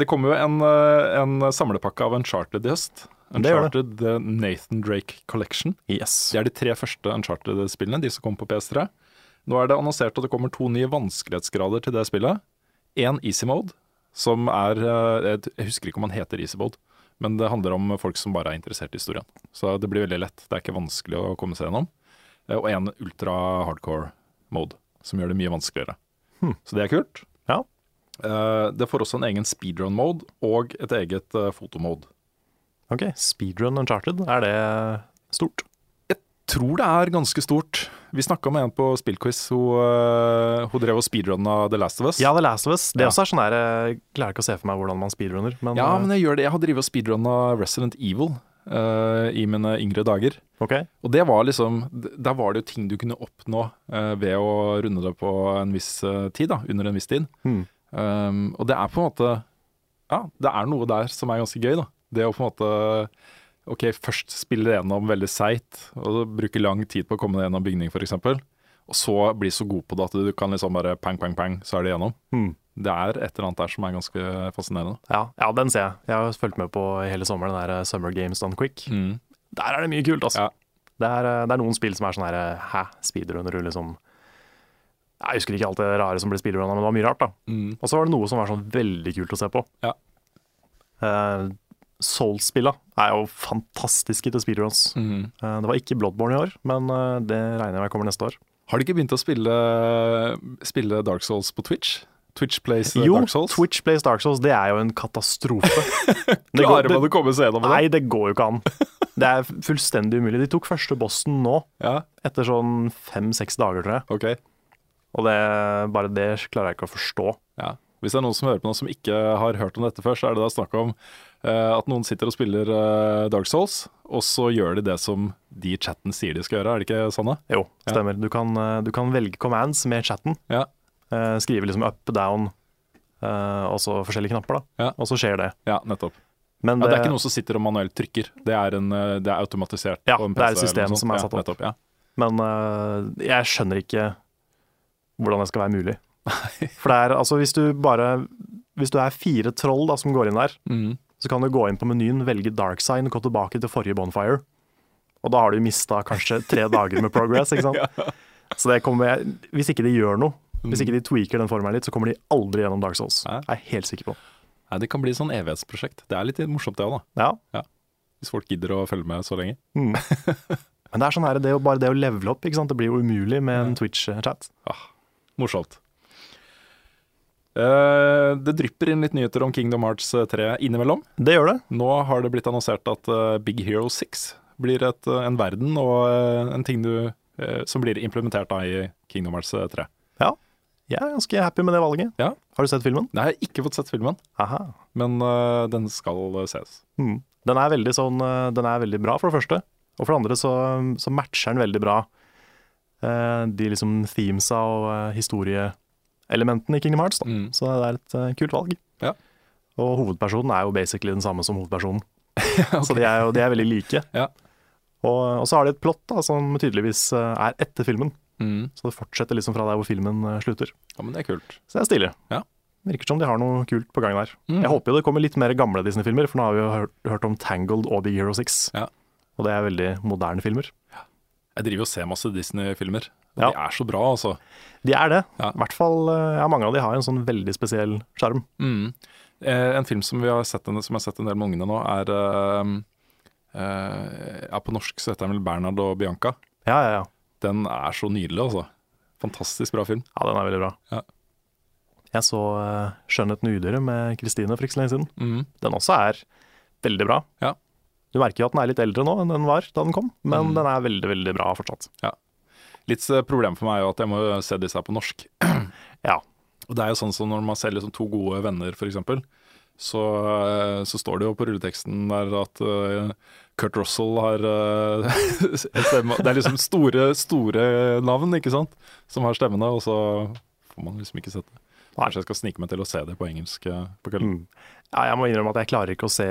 Speaker 2: det kommer jo en, øh, en samlepakke av Uncharted i høst.
Speaker 1: Det gjør
Speaker 2: Uncharted The Nathan Drake Collection.
Speaker 1: Yes.
Speaker 2: Det er de tre første Uncharted-spillene, de som kom på PS3. Nå er det annonsert at det kommer to nye vanskelighetsgrader til det spillet. Én easy mode, som er eh, Jeg jeg husker ikke om han heter easy mode, men det handler om folk som bare er interessert i historien. Så det blir veldig lett. Det er ikke vanskelig å komme seg gjennom. Eh, Og en ultra hardcore mode, som gjør det mye vanskeligere.
Speaker 1: Hmm.
Speaker 2: Så det er kult.
Speaker 1: Ja.
Speaker 2: Eh, Det får også en egen speedrun mode og et eget eh, fotomode.
Speaker 1: OK. Speedrun uncharted, er det stort?
Speaker 2: tror det er ganske stort. Vi snakka med en på spillquiz. Hun, øh, hun drev og speedrunna The Last of Us.
Speaker 1: Ja, The Last of Us. Det
Speaker 2: Ja.
Speaker 1: også er sånn her eh, Klarer ikke å se for meg hvordan man speedrunner, men, eh,
Speaker 2: Ja, men jeg gjør det. Jeg har drevet og speedrunna Resident Evil øh, i mine yngre dager.
Speaker 1: eh, OK.
Speaker 2: Og det var liksom d- Der var det jo ting du kunne oppnå øh, ved å runde det på en viss øh, tid, da. Under en viss tid.
Speaker 1: Hmm.
Speaker 2: Um, og det er på en måte Ja, det er noe der som er ganske gøy, da. Det å på en måte Ok, først spille det gjennom veldig seigt, og bruke lang tid på å komme deg gjennom bygning f.eks. Og så bli så god på det at du kan liksom bare pang, pang, pang, så er det gjennom.
Speaker 1: Hmm.
Speaker 2: Det er et eller annet der som er ganske fascinerende.
Speaker 1: Ja, ja, den ser jeg. Jeg har fulgt med på i hele sommeren, den der eh, Summer Games Done Quick.
Speaker 2: Mm,
Speaker 1: Der er det mye kult, altså.
Speaker 2: Ja.
Speaker 1: Det, er, eh, det er noen spill som er sånn her eh, Hæ, speedrunner du liksom Jeg husker ikke alt det rare som ble speedrunna, men det var mye rart, da.
Speaker 2: Mm.
Speaker 1: Og så var det noe som var sånn veldig kult å se på.
Speaker 2: Ja.
Speaker 1: Eh, Souls-spilla er jo fantastiske til speedruns.
Speaker 2: Mm.
Speaker 1: Eh, det var ikke Bloodborne i år, men eh, det regner jeg med kommer neste år.
Speaker 2: Har du ikke begynt å spille, spille Dark Souls på Twitch? Twitch plays eh,
Speaker 1: Jo,
Speaker 2: Dark Souls?
Speaker 1: Twitch plays Dark Souls, det er jo en katastrofe. Det går-
Speaker 2: Klarer man å komme seg gjennom det?
Speaker 1: Nei, det går jo ikke an. Det er fullstendig umulig. De tok første bossen nå,
Speaker 2: Ja,
Speaker 1: etter sånn fem-seks dager, tror jeg.
Speaker 2: ok.
Speaker 1: Og det, bare det klarer jeg ikke å forstå.
Speaker 2: Ja. Hvis det er noen som hører på noe som ikke har hørt om dette før, så er det da snakk om eh, at noen sitter og spiller eh, Dark Souls, og så gjør de det som de i chatten sier de skal gjøre, er det ikke sånn? da?
Speaker 1: Jo, stemmer. Du, kan, eh, du kan velge commands med chatten.
Speaker 2: Ja.
Speaker 1: Eh, skrive liksom up, down, eh, og så forskjellige knapper, da.
Speaker 2: Ja.
Speaker 1: Og så skjer det.
Speaker 2: Ja, nettopp.
Speaker 1: Men
Speaker 2: Ja, det er ikke noen som sitter og manuelt trykker, det er, en, eh, det er automatisert.
Speaker 1: Ja,
Speaker 2: på en
Speaker 1: det er et
Speaker 2: PC eller noe
Speaker 1: system
Speaker 2: sånt.
Speaker 1: som er
Speaker 2: Ja,
Speaker 1: satt opp.
Speaker 2: nettopp, ja.
Speaker 1: Men eh, jeg skjønner ikke hvordan det skal være mulig. For det er, altså hvis du bare Hvis du er fire troll da, som går inn der,
Speaker 2: Mm.
Speaker 1: så kan du gå inn på menyen, velge dark sign og gå tilbake til forrige bonfire. Og da har du mista kanskje tre dager med progress, ikke sant. Så det kommer, hvis ikke de gjør noe, hvis ikke de tweaker den formelen litt, så kommer de aldri gjennom Dark Souls.
Speaker 2: Mm. Nei.
Speaker 1: Jeg er jeg helt sikker på.
Speaker 2: Nei, det kan bli sånn evighetsprosjekt. Det er litt morsomt det òg, da.
Speaker 1: Ja.
Speaker 2: Hvis folk gidder å følge med så lenge.
Speaker 1: Mm. Men det er sånn her, det, er jo bare det å levele opp, ikke sant? det blir jo umulig med en Twitch-chat.
Speaker 2: Ah, morsomt. Eh, det drypper inn litt nyheter om Kingdom Hearts 3 innimellom.
Speaker 1: Det gjør det.
Speaker 2: Nå har det blitt annonsert at eh, Big Hero 6 blir et, eh, en verden og eh, en ting du, eh, som blir implementert da, i Kingdom Hearts eh, 3.
Speaker 1: Ja. Jeg er ganske happy med det valget.
Speaker 2: Ja.
Speaker 1: Har du sett filmen?
Speaker 2: Nei, jeg har ikke fått sett filmen,
Speaker 1: Aha.
Speaker 2: men eh, den skal eh, ses.
Speaker 1: Mm. Den, er veldig sånn, eh, den er veldig bra, for det første. Og for det andre så, så matcher den veldig bra eh, de liksom themesa og eh, historieelementene i Kingdom Hearts. Da.
Speaker 2: Mm.
Speaker 1: Så det er et eh, kult valg.
Speaker 2: Ja.
Speaker 1: Og hovedpersonen er jo basically den samme som hovedpersonen. Så de er, jo, de er veldig like.
Speaker 2: Ja.
Speaker 1: Og, og så har de et plott da, som tydeligvis eh, er etter filmen.
Speaker 2: Mm.
Speaker 1: Så det fortsetter liksom fra der hvor filmen eh, slutter.
Speaker 2: Ja, men det er kult.
Speaker 1: Så det er stilig.
Speaker 2: Ja.
Speaker 1: Virker som de har noe kult på gang der.
Speaker 2: Mm.
Speaker 1: Jeg håper jo det kommer litt mer gamle Disney-filmer, for nå har vi jo hørt, hørt om Tangled og Big Hero 6.
Speaker 2: Ja.
Speaker 1: Og det er veldig moderne filmer.
Speaker 2: Jeg driver og ser masse Disney-filmer. og
Speaker 1: Ja.
Speaker 2: De er så bra, altså.
Speaker 1: De er det.
Speaker 2: Ja.
Speaker 1: I hvert fall, eh, ja, Mange av de har en sånn veldig spesiell skjerm.
Speaker 2: Mm. Eh, en film som, vi har sett, en- som jeg har sett en del med ungene nå, er eh, eh, ja, På norsk så heter den vel 'Bernhard og Bianca'.
Speaker 1: Ja, ja, ja.
Speaker 2: Den er så nydelig, altså. Fantastisk bra film.
Speaker 1: Ja, Den er veldig bra.
Speaker 2: Ja.
Speaker 1: Jeg så eh, 'Skjønnheten og udyret' med Kristine for ikke så lenge siden. Den også er veldig bra.
Speaker 2: Ja. Mm.
Speaker 1: Du merker jo at den er litt eldre nå enn den var da den kom, men den er veldig, veldig bra fortsatt.
Speaker 2: Litt eh, problem for meg er jo at jeg må jo se disse her på norsk.
Speaker 1: Ja.
Speaker 2: Og det er jo sånn som når man ser liksom to gode venner, f.eks., så, eh, så står det jo på rulleteksten der at eh, Kurt Russell har eh, stemme. Det er liksom store, store navn, ikke sant, som har stemmene, og så får man liksom ikke sett det. Kanskje jeg skal snike meg til å se det på engelsk eh, på kvelden.
Speaker 1: Mm. ja. Jeg må innrømme at jeg klarer ikke å se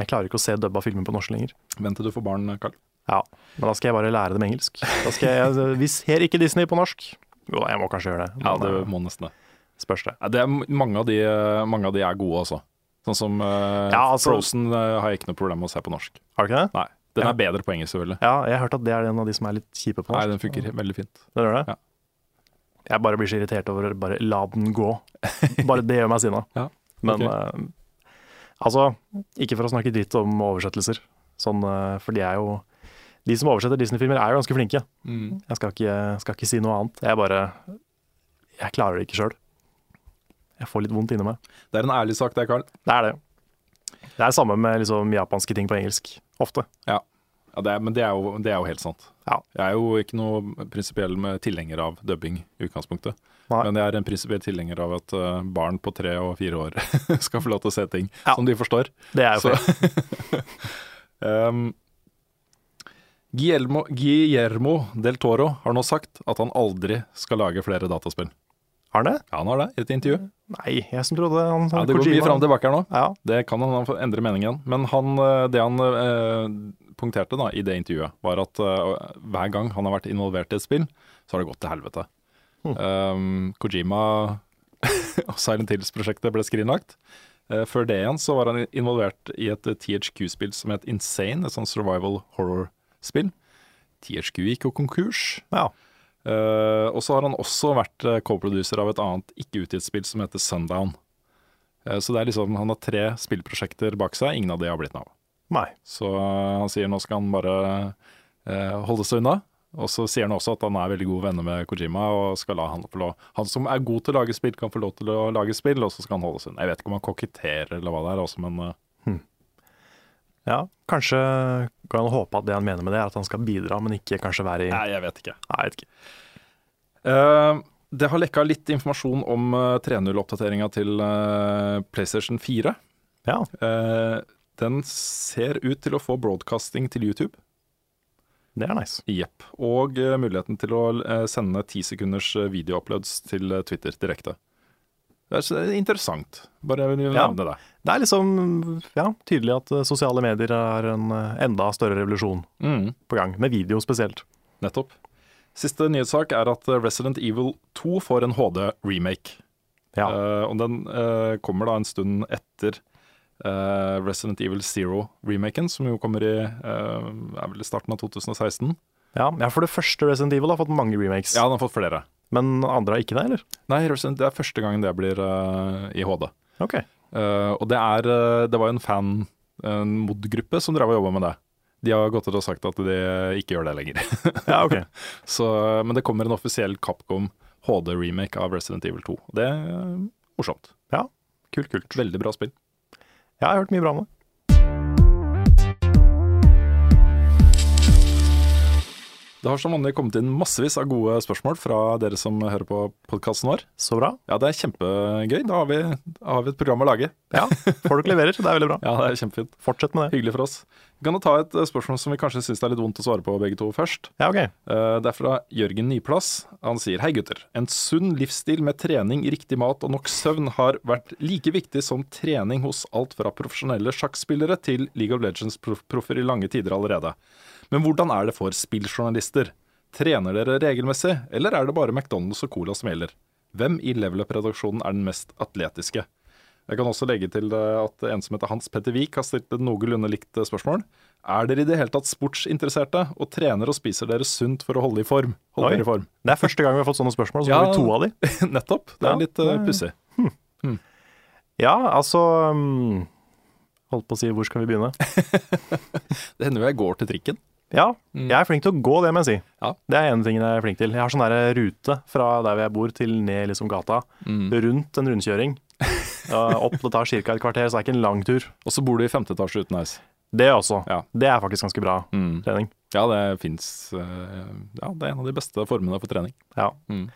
Speaker 1: Jeg klarer ikke å se dubba filmer på norsk lenger.
Speaker 2: Vent til du får barn, eh, Carl.
Speaker 1: Ja, men da skal jeg bare lære dem engelsk. Da skal jeg, altså, vi ser ikke Disney på norsk. Jo, jeg må kanskje gjøre det.
Speaker 2: Ja,
Speaker 1: men,
Speaker 2: det
Speaker 1: eh,
Speaker 2: må nesten det.
Speaker 1: spørs det.
Speaker 2: Ja, det er, m- mange, av de, eh, mange av de er gode, altså. Sånn som eh,
Speaker 1: Ja, altså-
Speaker 2: Frozen eh, har jeg ikke noe problem med å se på norsk.
Speaker 1: Har du ikke det?
Speaker 2: Nei, Den
Speaker 1: Ja.
Speaker 2: er bedre på engelsk, selvfølgelig.
Speaker 1: Ja, jeg har hørt at det er en av de som er litt kjipe på
Speaker 2: Nei,
Speaker 1: norsk.
Speaker 2: den funker veldig fint.
Speaker 1: Den gjør det?
Speaker 2: Ja.
Speaker 1: Jeg bare blir så irritert over å bare la den gå. Bare det gjør meg sinna.
Speaker 2: Ja,
Speaker 1: Men
Speaker 2: ok.
Speaker 1: eh, altså, ikke for å snakke dritt om oversettelser, sånn, eh, for de er jo De som oversetter Disney-filmer, er jo ganske flinke. Jeg skal ikke, skal ikke si noe annet. Jeg bare Jeg klarer det ikke sjøl. Jeg får litt vondt inni meg.
Speaker 2: Det er en ærlig sak, det, Carl.
Speaker 1: Det er det. Det er samme med liksom japanske ting på engelsk, ofte.
Speaker 2: Ja, det er, men det er, jo, det er jo helt sant.
Speaker 1: Ja.
Speaker 2: Jeg er jo ikke noe prinsipiell med tilhenger av dubbing i utgangspunktet.
Speaker 1: Nei.
Speaker 2: Men jeg er en prinsipiell tilhenger av at eh, barn på tre og fire år skal få lov til å se ting
Speaker 1: Ja.
Speaker 2: som de forstår.
Speaker 1: Det er jo
Speaker 2: Så-
Speaker 1: feil.
Speaker 2: um, Guillermo, Guillermo del Toro har nå sagt at han aldri skal lage flere dataspill.
Speaker 1: Har han det?
Speaker 2: Ja, han har det i et
Speaker 1: Mm.
Speaker 2: intervju.
Speaker 1: Nei, jeg som trodde han
Speaker 2: Ja, det går mye fram og tilbake her nå.
Speaker 1: Ja.
Speaker 2: Det kan han få endre meningen. Men han, eh, det han eh, punkterte da, i det intervjuet, var at eh, hver gang han har vært involvert i et spill, så har det gått til helvete. Um, Kojima og Silent Hills-prosjektet ble skrinlagt. Eh, før det igjen så var han involvert i et eh, THQ-spill som het Insane, et sånn survival horror-spill. THQ gikk jo konkurs.
Speaker 1: ja.
Speaker 2: Eh, og så har han også vært eh, co-producer av et annet ikke-utgitt spill som heter Sundown. Eh, så det er liksom, han har tre spillprosjekter bak seg, ingen av de har blitt noe av.
Speaker 1: Nei.
Speaker 2: Så eh, han sier nå skal han bare eh, holde seg unna. Og så sier han også at han er veldig gode venner med Kojima og skal la han få lov Han som er god til å lage spill, kan få lov til å lage spill, og så skal han holde seg unna. Jeg vet ikke om han koketterer eller hva det er, altså, men eh,
Speaker 1: Ja, kanskje kan han håpe at det han mener med det, er at han skal bidra, men ikke kanskje være i Nei,
Speaker 2: nei, jeg vet ikke.
Speaker 1: jeg vet ikke.
Speaker 2: Eh, det har lekka litt informasjon om eh, 3.0-oppdateringa til eh, PlayStation 4.
Speaker 1: Ja.
Speaker 2: Eh, den ser ut til å få broadcasting til YouTube.
Speaker 1: Det er nice.
Speaker 2: Jepp. Og eh, muligheten til å eh, sende ti sekunders eh, videouploads til eh, Twitter direkte. Det er så interessant. Bare jeg vil
Speaker 1: Ja.
Speaker 2: nevne det.
Speaker 1: Det er liksom ja, tydelig at eh, sosiale medier har en eh, enda større revolusjon
Speaker 2: Mm.
Speaker 1: på gang, med video spesielt.
Speaker 2: Nettopp. Siste nyhetssak er at eh, Resident Evil 2 får en HD-remake.
Speaker 1: Ja.
Speaker 2: Eh, og den eh, kommer da en stund etter eh, Resident Evil Zero-remaken, som jo kommer i eh, er vel i starten av 2016.
Speaker 1: ja. ja, for det første Resident Evil har fått mange remakes,
Speaker 2: Ja, den har fått flere.
Speaker 1: men andre har ikke det, eller?
Speaker 2: Nei, Resident, det er første gangen det blir eh, i HD.
Speaker 1: Ok.
Speaker 2: Eh, og det, er, eh, det var jo en fan, en mod-gruppe, som drev og jobba med det. De har gått ut og sagt at de ikke gjør det lenger.
Speaker 1: Ja, ok.
Speaker 2: Så, eh, men det kommer en offisiell Capcom HD-remake av Resident Evil 2. Det er eh, morsomt.
Speaker 1: Ja, kult, kult.
Speaker 2: Veldig bra spill.
Speaker 1: Jeg har hørt mye bra om det.
Speaker 2: Det har som vanlig kommet inn massevis av gode spørsmål fra dere som hører på podkasten vår.
Speaker 1: Så bra.
Speaker 2: Ja, det er kjempegøy. Da har vi, da har vi et program å lage.
Speaker 1: Ja, folk leverer, det er veldig bra.
Speaker 2: Ja, det er kjempefint.
Speaker 1: Fortsett med det.
Speaker 2: Hyggelig for oss. Vi kan jo ta et eh, spørsmål som vi kanskje syns er litt vondt å svare på begge to først.
Speaker 1: Ja, ok.
Speaker 2: Eh, Det er fra Jørgen Nyplass. Han sier hei gutter. En sunn livsstil med trening, riktig mat og nok søvn har vært like viktig som trening hos alt fra profesjonelle sjakkspillere til League of Legends-proffer i lange tider allerede. Men hvordan er det for spilljournalister? Trener dere regelmessig, eller er det bare McDonald's og Cola som gjelder? Hvem i Level Up-redaksjonen er den mest atletiske? Jeg kan også legge til eh, at en som heter Hans Petter Wiik har stilt et noenlunde likt eh, spørsmål. Er dere i det hele tatt sportsinteresserte, og trener og spiser dere sunt for å holde i form? Holde
Speaker 1: Oi.
Speaker 2: dere i form.
Speaker 1: Det er første gang vi har fått sånne spørsmål, så
Speaker 2: Ja.
Speaker 1: får vi to av de.
Speaker 2: Nettopp. Det
Speaker 1: Ja,
Speaker 2: er litt uh,
Speaker 1: det-
Speaker 2: pussig.
Speaker 1: Ja, altså mm, Holdt på å si hvor skal vi begynne?
Speaker 2: Det hender jo jeg går til trikken.
Speaker 1: Ja, jeg er flink til å gå, det må jeg si.
Speaker 2: Mm. Ja.
Speaker 1: Det er en ting jeg er flink til. Jeg har sånn der rute fra der jeg bor til ned liksom gata,
Speaker 2: Mm.
Speaker 1: rundt en rundkjøring. Ja, opp, det tar ca. et kvarter, så det er ikke en lang tur.
Speaker 2: Og så bor du i femte etasje uten heis.
Speaker 1: Det også.
Speaker 2: Ja.
Speaker 1: Det er faktisk ganske bra trening.
Speaker 2: Ja, det fins Ja, det er en av de beste formene for trening.
Speaker 1: Ja.
Speaker 2: Mm.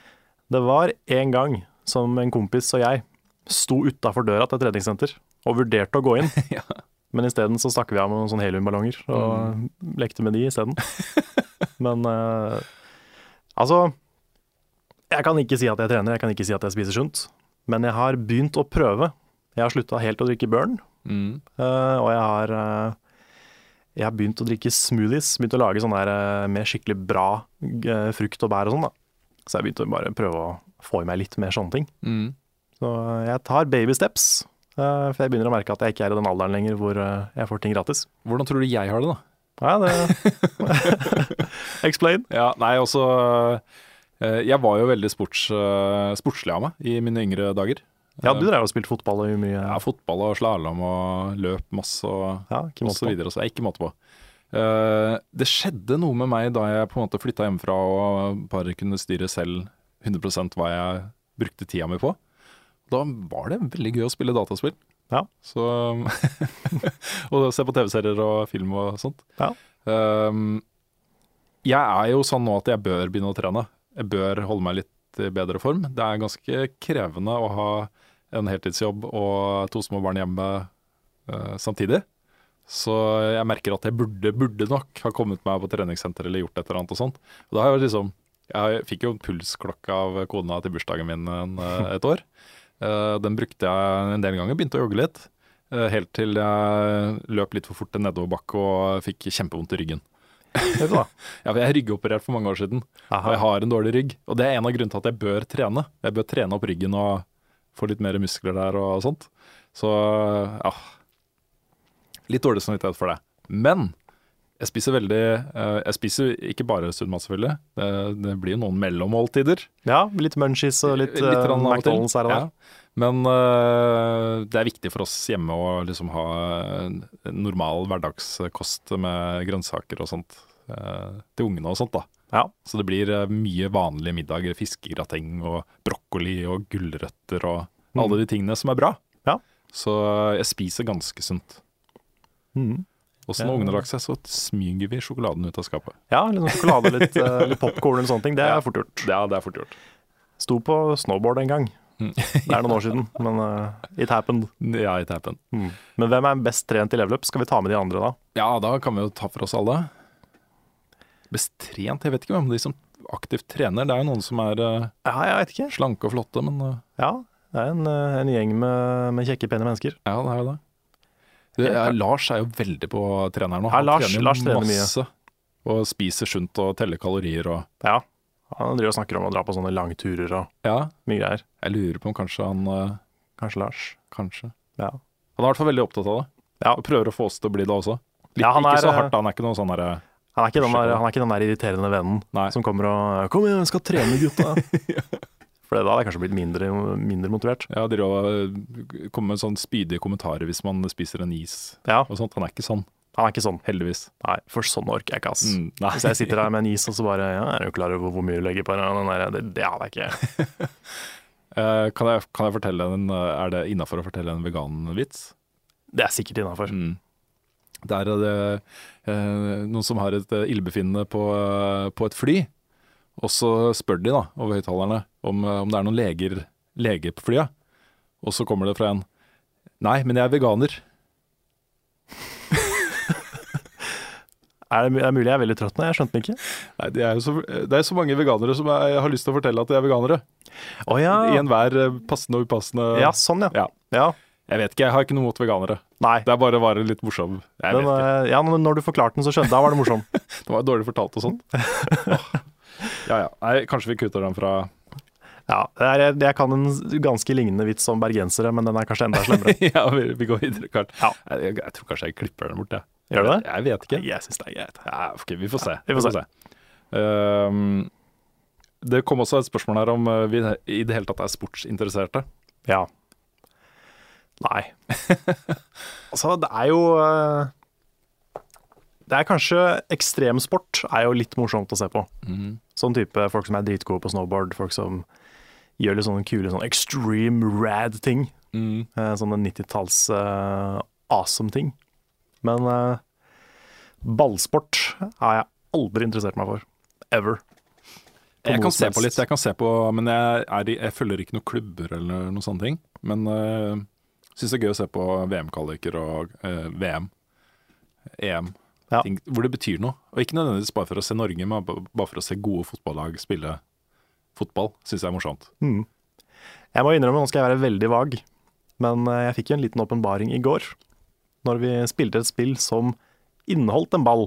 Speaker 1: Det var en gang som en kompis og jeg sto utafor døra til et treningssenter og vurderte å gå inn.
Speaker 2: Ja.
Speaker 1: Men isteden så stakk vi av med noen sånne heliumballonger og lekte med de isteden. Men eh, altså Jeg kan ikke si at jeg trener, jeg kan ikke si at jeg spiser sunt. Men jeg har begynt å prøve. Jeg har slutta helt å drikke Burn,
Speaker 2: Mm.
Speaker 1: eh, og jeg har eh, jeg har begynt å drikke smoothies, begynt å lage sånne der eh, med skikkelig bra eh, frukt og bær og sånn, da. Så jeg begynte å bare prøve å få i meg litt mer sånne ting.
Speaker 2: Mm.
Speaker 1: Så eh, jeg tar baby steps, eh, for jeg begynner å merke at jeg ikke er i den alderen lenger hvor eh, jeg får ting gratis.
Speaker 2: Hvordan tror du jeg har det, da?
Speaker 1: Ja, det Explain.
Speaker 2: Ja, nei, også eh, Jeg var jo veldig sports, eh, sportslig av meg i mine yngre dager.
Speaker 1: Ja, du drev og spilte fotball og mye.
Speaker 2: Ja, fotball og slalåm og løp masse og,
Speaker 1: Ja, ikke
Speaker 2: og
Speaker 1: måte
Speaker 2: så
Speaker 1: på.
Speaker 2: videre. Så jeg er ikke måte på. Eh, det skjedde noe med meg da jeg på en måte flytta hjemmefra og bare kunne styre selv 100 hva jeg brukte tida mi på. Da var det veldig gøy å spille dataspill.
Speaker 1: Ja.
Speaker 2: Så, og se på TV-serier og film og sånt.
Speaker 1: Ja.
Speaker 2: Ehm, jeg er jo sånn nå at jeg bør begynne å trene. Jeg bør holde meg litt i bedre form. Det er ganske krevende å ha en heltidsjobb og to små barn hjemme eh, samtidig. Så jeg merker at jeg burde, burde nok ha kommet meg på treningssenter eller gjort et eller annet og sånt. Og da har jeg liksom Jeg fikk jo en pulsklokke av kona til bursdagen min en, eh, et år. Eh, Den brukte jeg en del ganger, begynte å jogge litt. eh, Helt til jeg løp litt for fort en nedoverbakke og fikk kjempevondt i ryggen.
Speaker 1: Vet du da.
Speaker 2: Ja, for Jeg er ryggoperert for mange år siden, og
Speaker 1: Aha.
Speaker 2: jeg har en dårlig rygg. Og det er en av grunnene til at jeg bør trene. Jeg bør trene opp ryggen og få litt mer muskler der og sånt. Så ja Litt dårlig samvittighet for det. Men jeg spiser veldig eh, Jeg spiser ikke bare sunn mat, selvfølgelig. Det, det blir jo noen mellommåltider.
Speaker 1: Ja, litt munchies og litt, eh,
Speaker 2: grann av og til.
Speaker 1: McDonald's her og der.
Speaker 2: Ja. Men eh, det er viktig for oss hjemme å liksom ha en normal hverdagskost med grønnsaker og sånt eh, til ungene og sånt, da.
Speaker 1: Ja.
Speaker 2: Så det blir eh, mye vanlige middager. Fiskegrateng og brokkoli og gulrøtter og alle de tingene som er bra.
Speaker 1: Mm. Ja.
Speaker 2: Så eh, jeg spiser ganske sunt.
Speaker 1: Mhm.
Speaker 2: Og så når
Speaker 1: Ja.
Speaker 2: ungene har lagt seg, så smyger vi sjokoladen ut av skapet.
Speaker 1: ja, litt sånn sjokolade, litt, eh, litt popkorn eller sånne ting. Det
Speaker 2: Ja.
Speaker 1: er fort gjort.
Speaker 2: Ja, det er fort gjort.
Speaker 1: Sto på snowboard en gang. Det er noen år siden, men eh, it happened. Mm.
Speaker 2: Ja, it happened.
Speaker 1: Men hvem er best trent i level up? Skal vi ta med de andre da?
Speaker 2: Ja, da kan vi jo ta for oss alle. Best trent, jeg vet ikke hvem de som aktivt trener. Det er jo noen som er eh,
Speaker 1: Ja, jeg vet ikke.
Speaker 2: slanke og flotte, men eh,
Speaker 1: Ja, det er en, eh, en gjeng med, med kjekke, pene mennesker.
Speaker 2: ja, det er jo det. Du, eh, Lars er jo veldig på treneren nå.
Speaker 1: Ja, Lars-
Speaker 2: jo
Speaker 1: Lars trener mye.
Speaker 2: masse. og spiser sunt og teller kalorier og
Speaker 1: Ja. Han driver og snakker om å dra på sånne langturer og
Speaker 2: Ja,
Speaker 1: mye greier.
Speaker 2: jeg lurer på om kanskje han eh,
Speaker 1: Kanskje Lars.
Speaker 2: Kanskje.
Speaker 1: Ja.
Speaker 2: Han er i hvert fall veldig opptatt av det.
Speaker 1: Ja.
Speaker 2: Og prøver å få oss til å bli det også. Litt,
Speaker 1: Ja, han
Speaker 2: ikke
Speaker 1: er,
Speaker 2: så
Speaker 1: eh,
Speaker 2: hardt, da. han er ikke noe sånn derre
Speaker 1: Han er, ikke den der, han er ikke den der irriterende vennen
Speaker 2: Nei.
Speaker 1: som kommer og uh, 'Kom igjen, jeg skal trene, gutta'. For da hadde jeg kanskje blitt mindre, mindre motivert.
Speaker 2: Ja, de kommer med sånn spydige kommentarer hvis man spiser en is
Speaker 1: Ja,
Speaker 2: og sånt. Han er ikke sånn,
Speaker 1: Han er ikke sånn.
Speaker 2: heldigvis.
Speaker 1: Nei, for sånn orker jeg ikke, ass.
Speaker 2: Mm, nei.
Speaker 1: Hvis jeg sitter der med en is og så bare ja, 'Er du klar over hvor mye du legger på den?' der, Det, det hadde jeg ikke.
Speaker 2: Eh, kan, jeg, kan jeg fortelle en eh, Er det innafor å fortelle en veganvits?
Speaker 1: Det er sikkert innafor.
Speaker 2: Mm. Der er det eh, noen som har et eh, illebefinnende på, eh, på et fly. Og så spør de da, over høyttalerne om, eh, om det er noen leger, leger på flyet. Og så kommer det fra en Nei, men jeg er veganer.
Speaker 1: Er det, mu- det er mulig jeg er veldig trøtt nå, jeg skjønte den ikke.
Speaker 2: Nei, det, er jo så, det er så mange veganere som er, har lyst til å fortelle at de er veganere.
Speaker 1: Å ja.
Speaker 2: I enhver eh, passende og upassende
Speaker 1: ja, sånn ja.
Speaker 2: Ja.
Speaker 1: ja.
Speaker 2: Jeg vet ikke, jeg har ikke noe mot veganere.
Speaker 1: Nei.
Speaker 2: Det er bare å være litt morsom. Jeg
Speaker 1: Den,
Speaker 2: vet ikke.
Speaker 1: eh, ja, men når du forklarte den, så skjønte jeg. Da var det morsom.
Speaker 2: Det var dårlig fortalt og sånt. ja ja. Nei, kanskje vi kutter den fra
Speaker 1: Ja, det er, jeg- jeg kan en ganske lignende vits om bergensere, men den er kanskje enda slemmere.
Speaker 2: ja, vi, vi går videre, Karl.
Speaker 1: Ja.
Speaker 2: Jeg, jeg, jeg tror kanskje jeg klipper den bort, jeg.
Speaker 1: Gjør du det?
Speaker 2: Jeg vet ikke.
Speaker 1: Jeg syns det er greit.
Speaker 2: Ja, ok, vi får se.
Speaker 1: vi får se.
Speaker 2: Ehm, det kom også et spørsmål her om eh, vi i det hele tatt er sportsinteresserte.
Speaker 1: Ja. Nei. altså, det er jo eh, Det er kanskje ekstremsport er jo litt morsomt å se på. Sånn type folk som er dritgode på snowboard, folk som gjør litt sånne kule sånn extreme rad ting. Eh, Sånne 90-talls eh, awesome ting. Men eh, ballsport har jeg aldri interessert meg for. Ever. På
Speaker 2: Jeg
Speaker 1: noe
Speaker 2: kan
Speaker 1: som
Speaker 2: se på
Speaker 1: helst.
Speaker 2: litt, jeg kan se på, men jeg, er, i- jeg følger ikke noen klubber eller noen sånne ting. Men uh, syns det er gøy å se på VM-kvaliker og eh, VM, EM.
Speaker 1: Ja.
Speaker 2: Ting, hvor det betyr noe. Og ikke nødvendigvis bare for å se Norge, men ba- bare for å se gode fotballag spille fotball. Syns jeg er morsomt.
Speaker 1: Mm. Jeg må innrømme, nå skal jeg være veldig vag, men eh, jeg fikk jo en liten åpenbaring i går. Når vi spilte et spill som inneholdt en ball.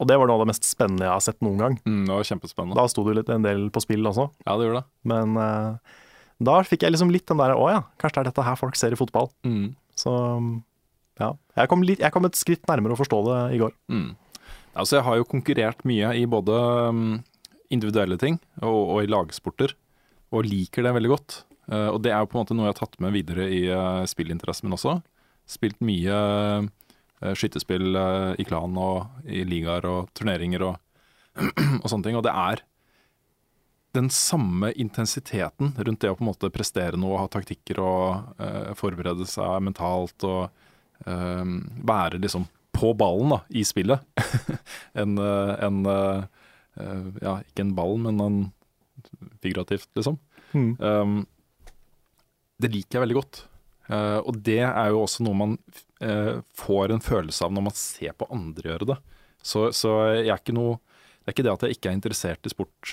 Speaker 1: Og det var noe av det mest spennende jeg har sett noen gang.
Speaker 2: Mm, det var kjempespennende.
Speaker 1: Da sto det jo litt en del på spill også,
Speaker 2: Ja, det gjør det.
Speaker 1: men eh, da fikk jeg liksom litt den derre Å ja, kanskje det er dette her folk ser i fotball.
Speaker 2: Mm.
Speaker 1: Så ja. Jeg kom, litt, jeg kom et skritt nærmere å forstå det i går.
Speaker 2: Altså, jeg har jo konkurrert mye i både mm, individuelle ting og, og i lagsporter, og liker det veldig godt. Eh, og det er jo på en måte noe jeg har tatt med videre i eh, spillinteressen min også. Spilt mye eh, skytterspill eh, i klan og i ligaer og turneringer og, og sånne ting. Og det er den samme intensiteten rundt det å på en måte prestere noe, ha taktikker og eh, forberede seg mentalt og eh, være liksom på ballen da, i spillet. en eh, en eh, eh, ja, ikke en ball, men en figurativt, liksom.
Speaker 1: Mm.
Speaker 2: Um, det liker jeg veldig godt. Eh, og det er jo også noe man eh, får en følelse av når man ser på andre gjøre det. Så, så jeg er ikke noe Det er ikke det at jeg ikke er interessert i sport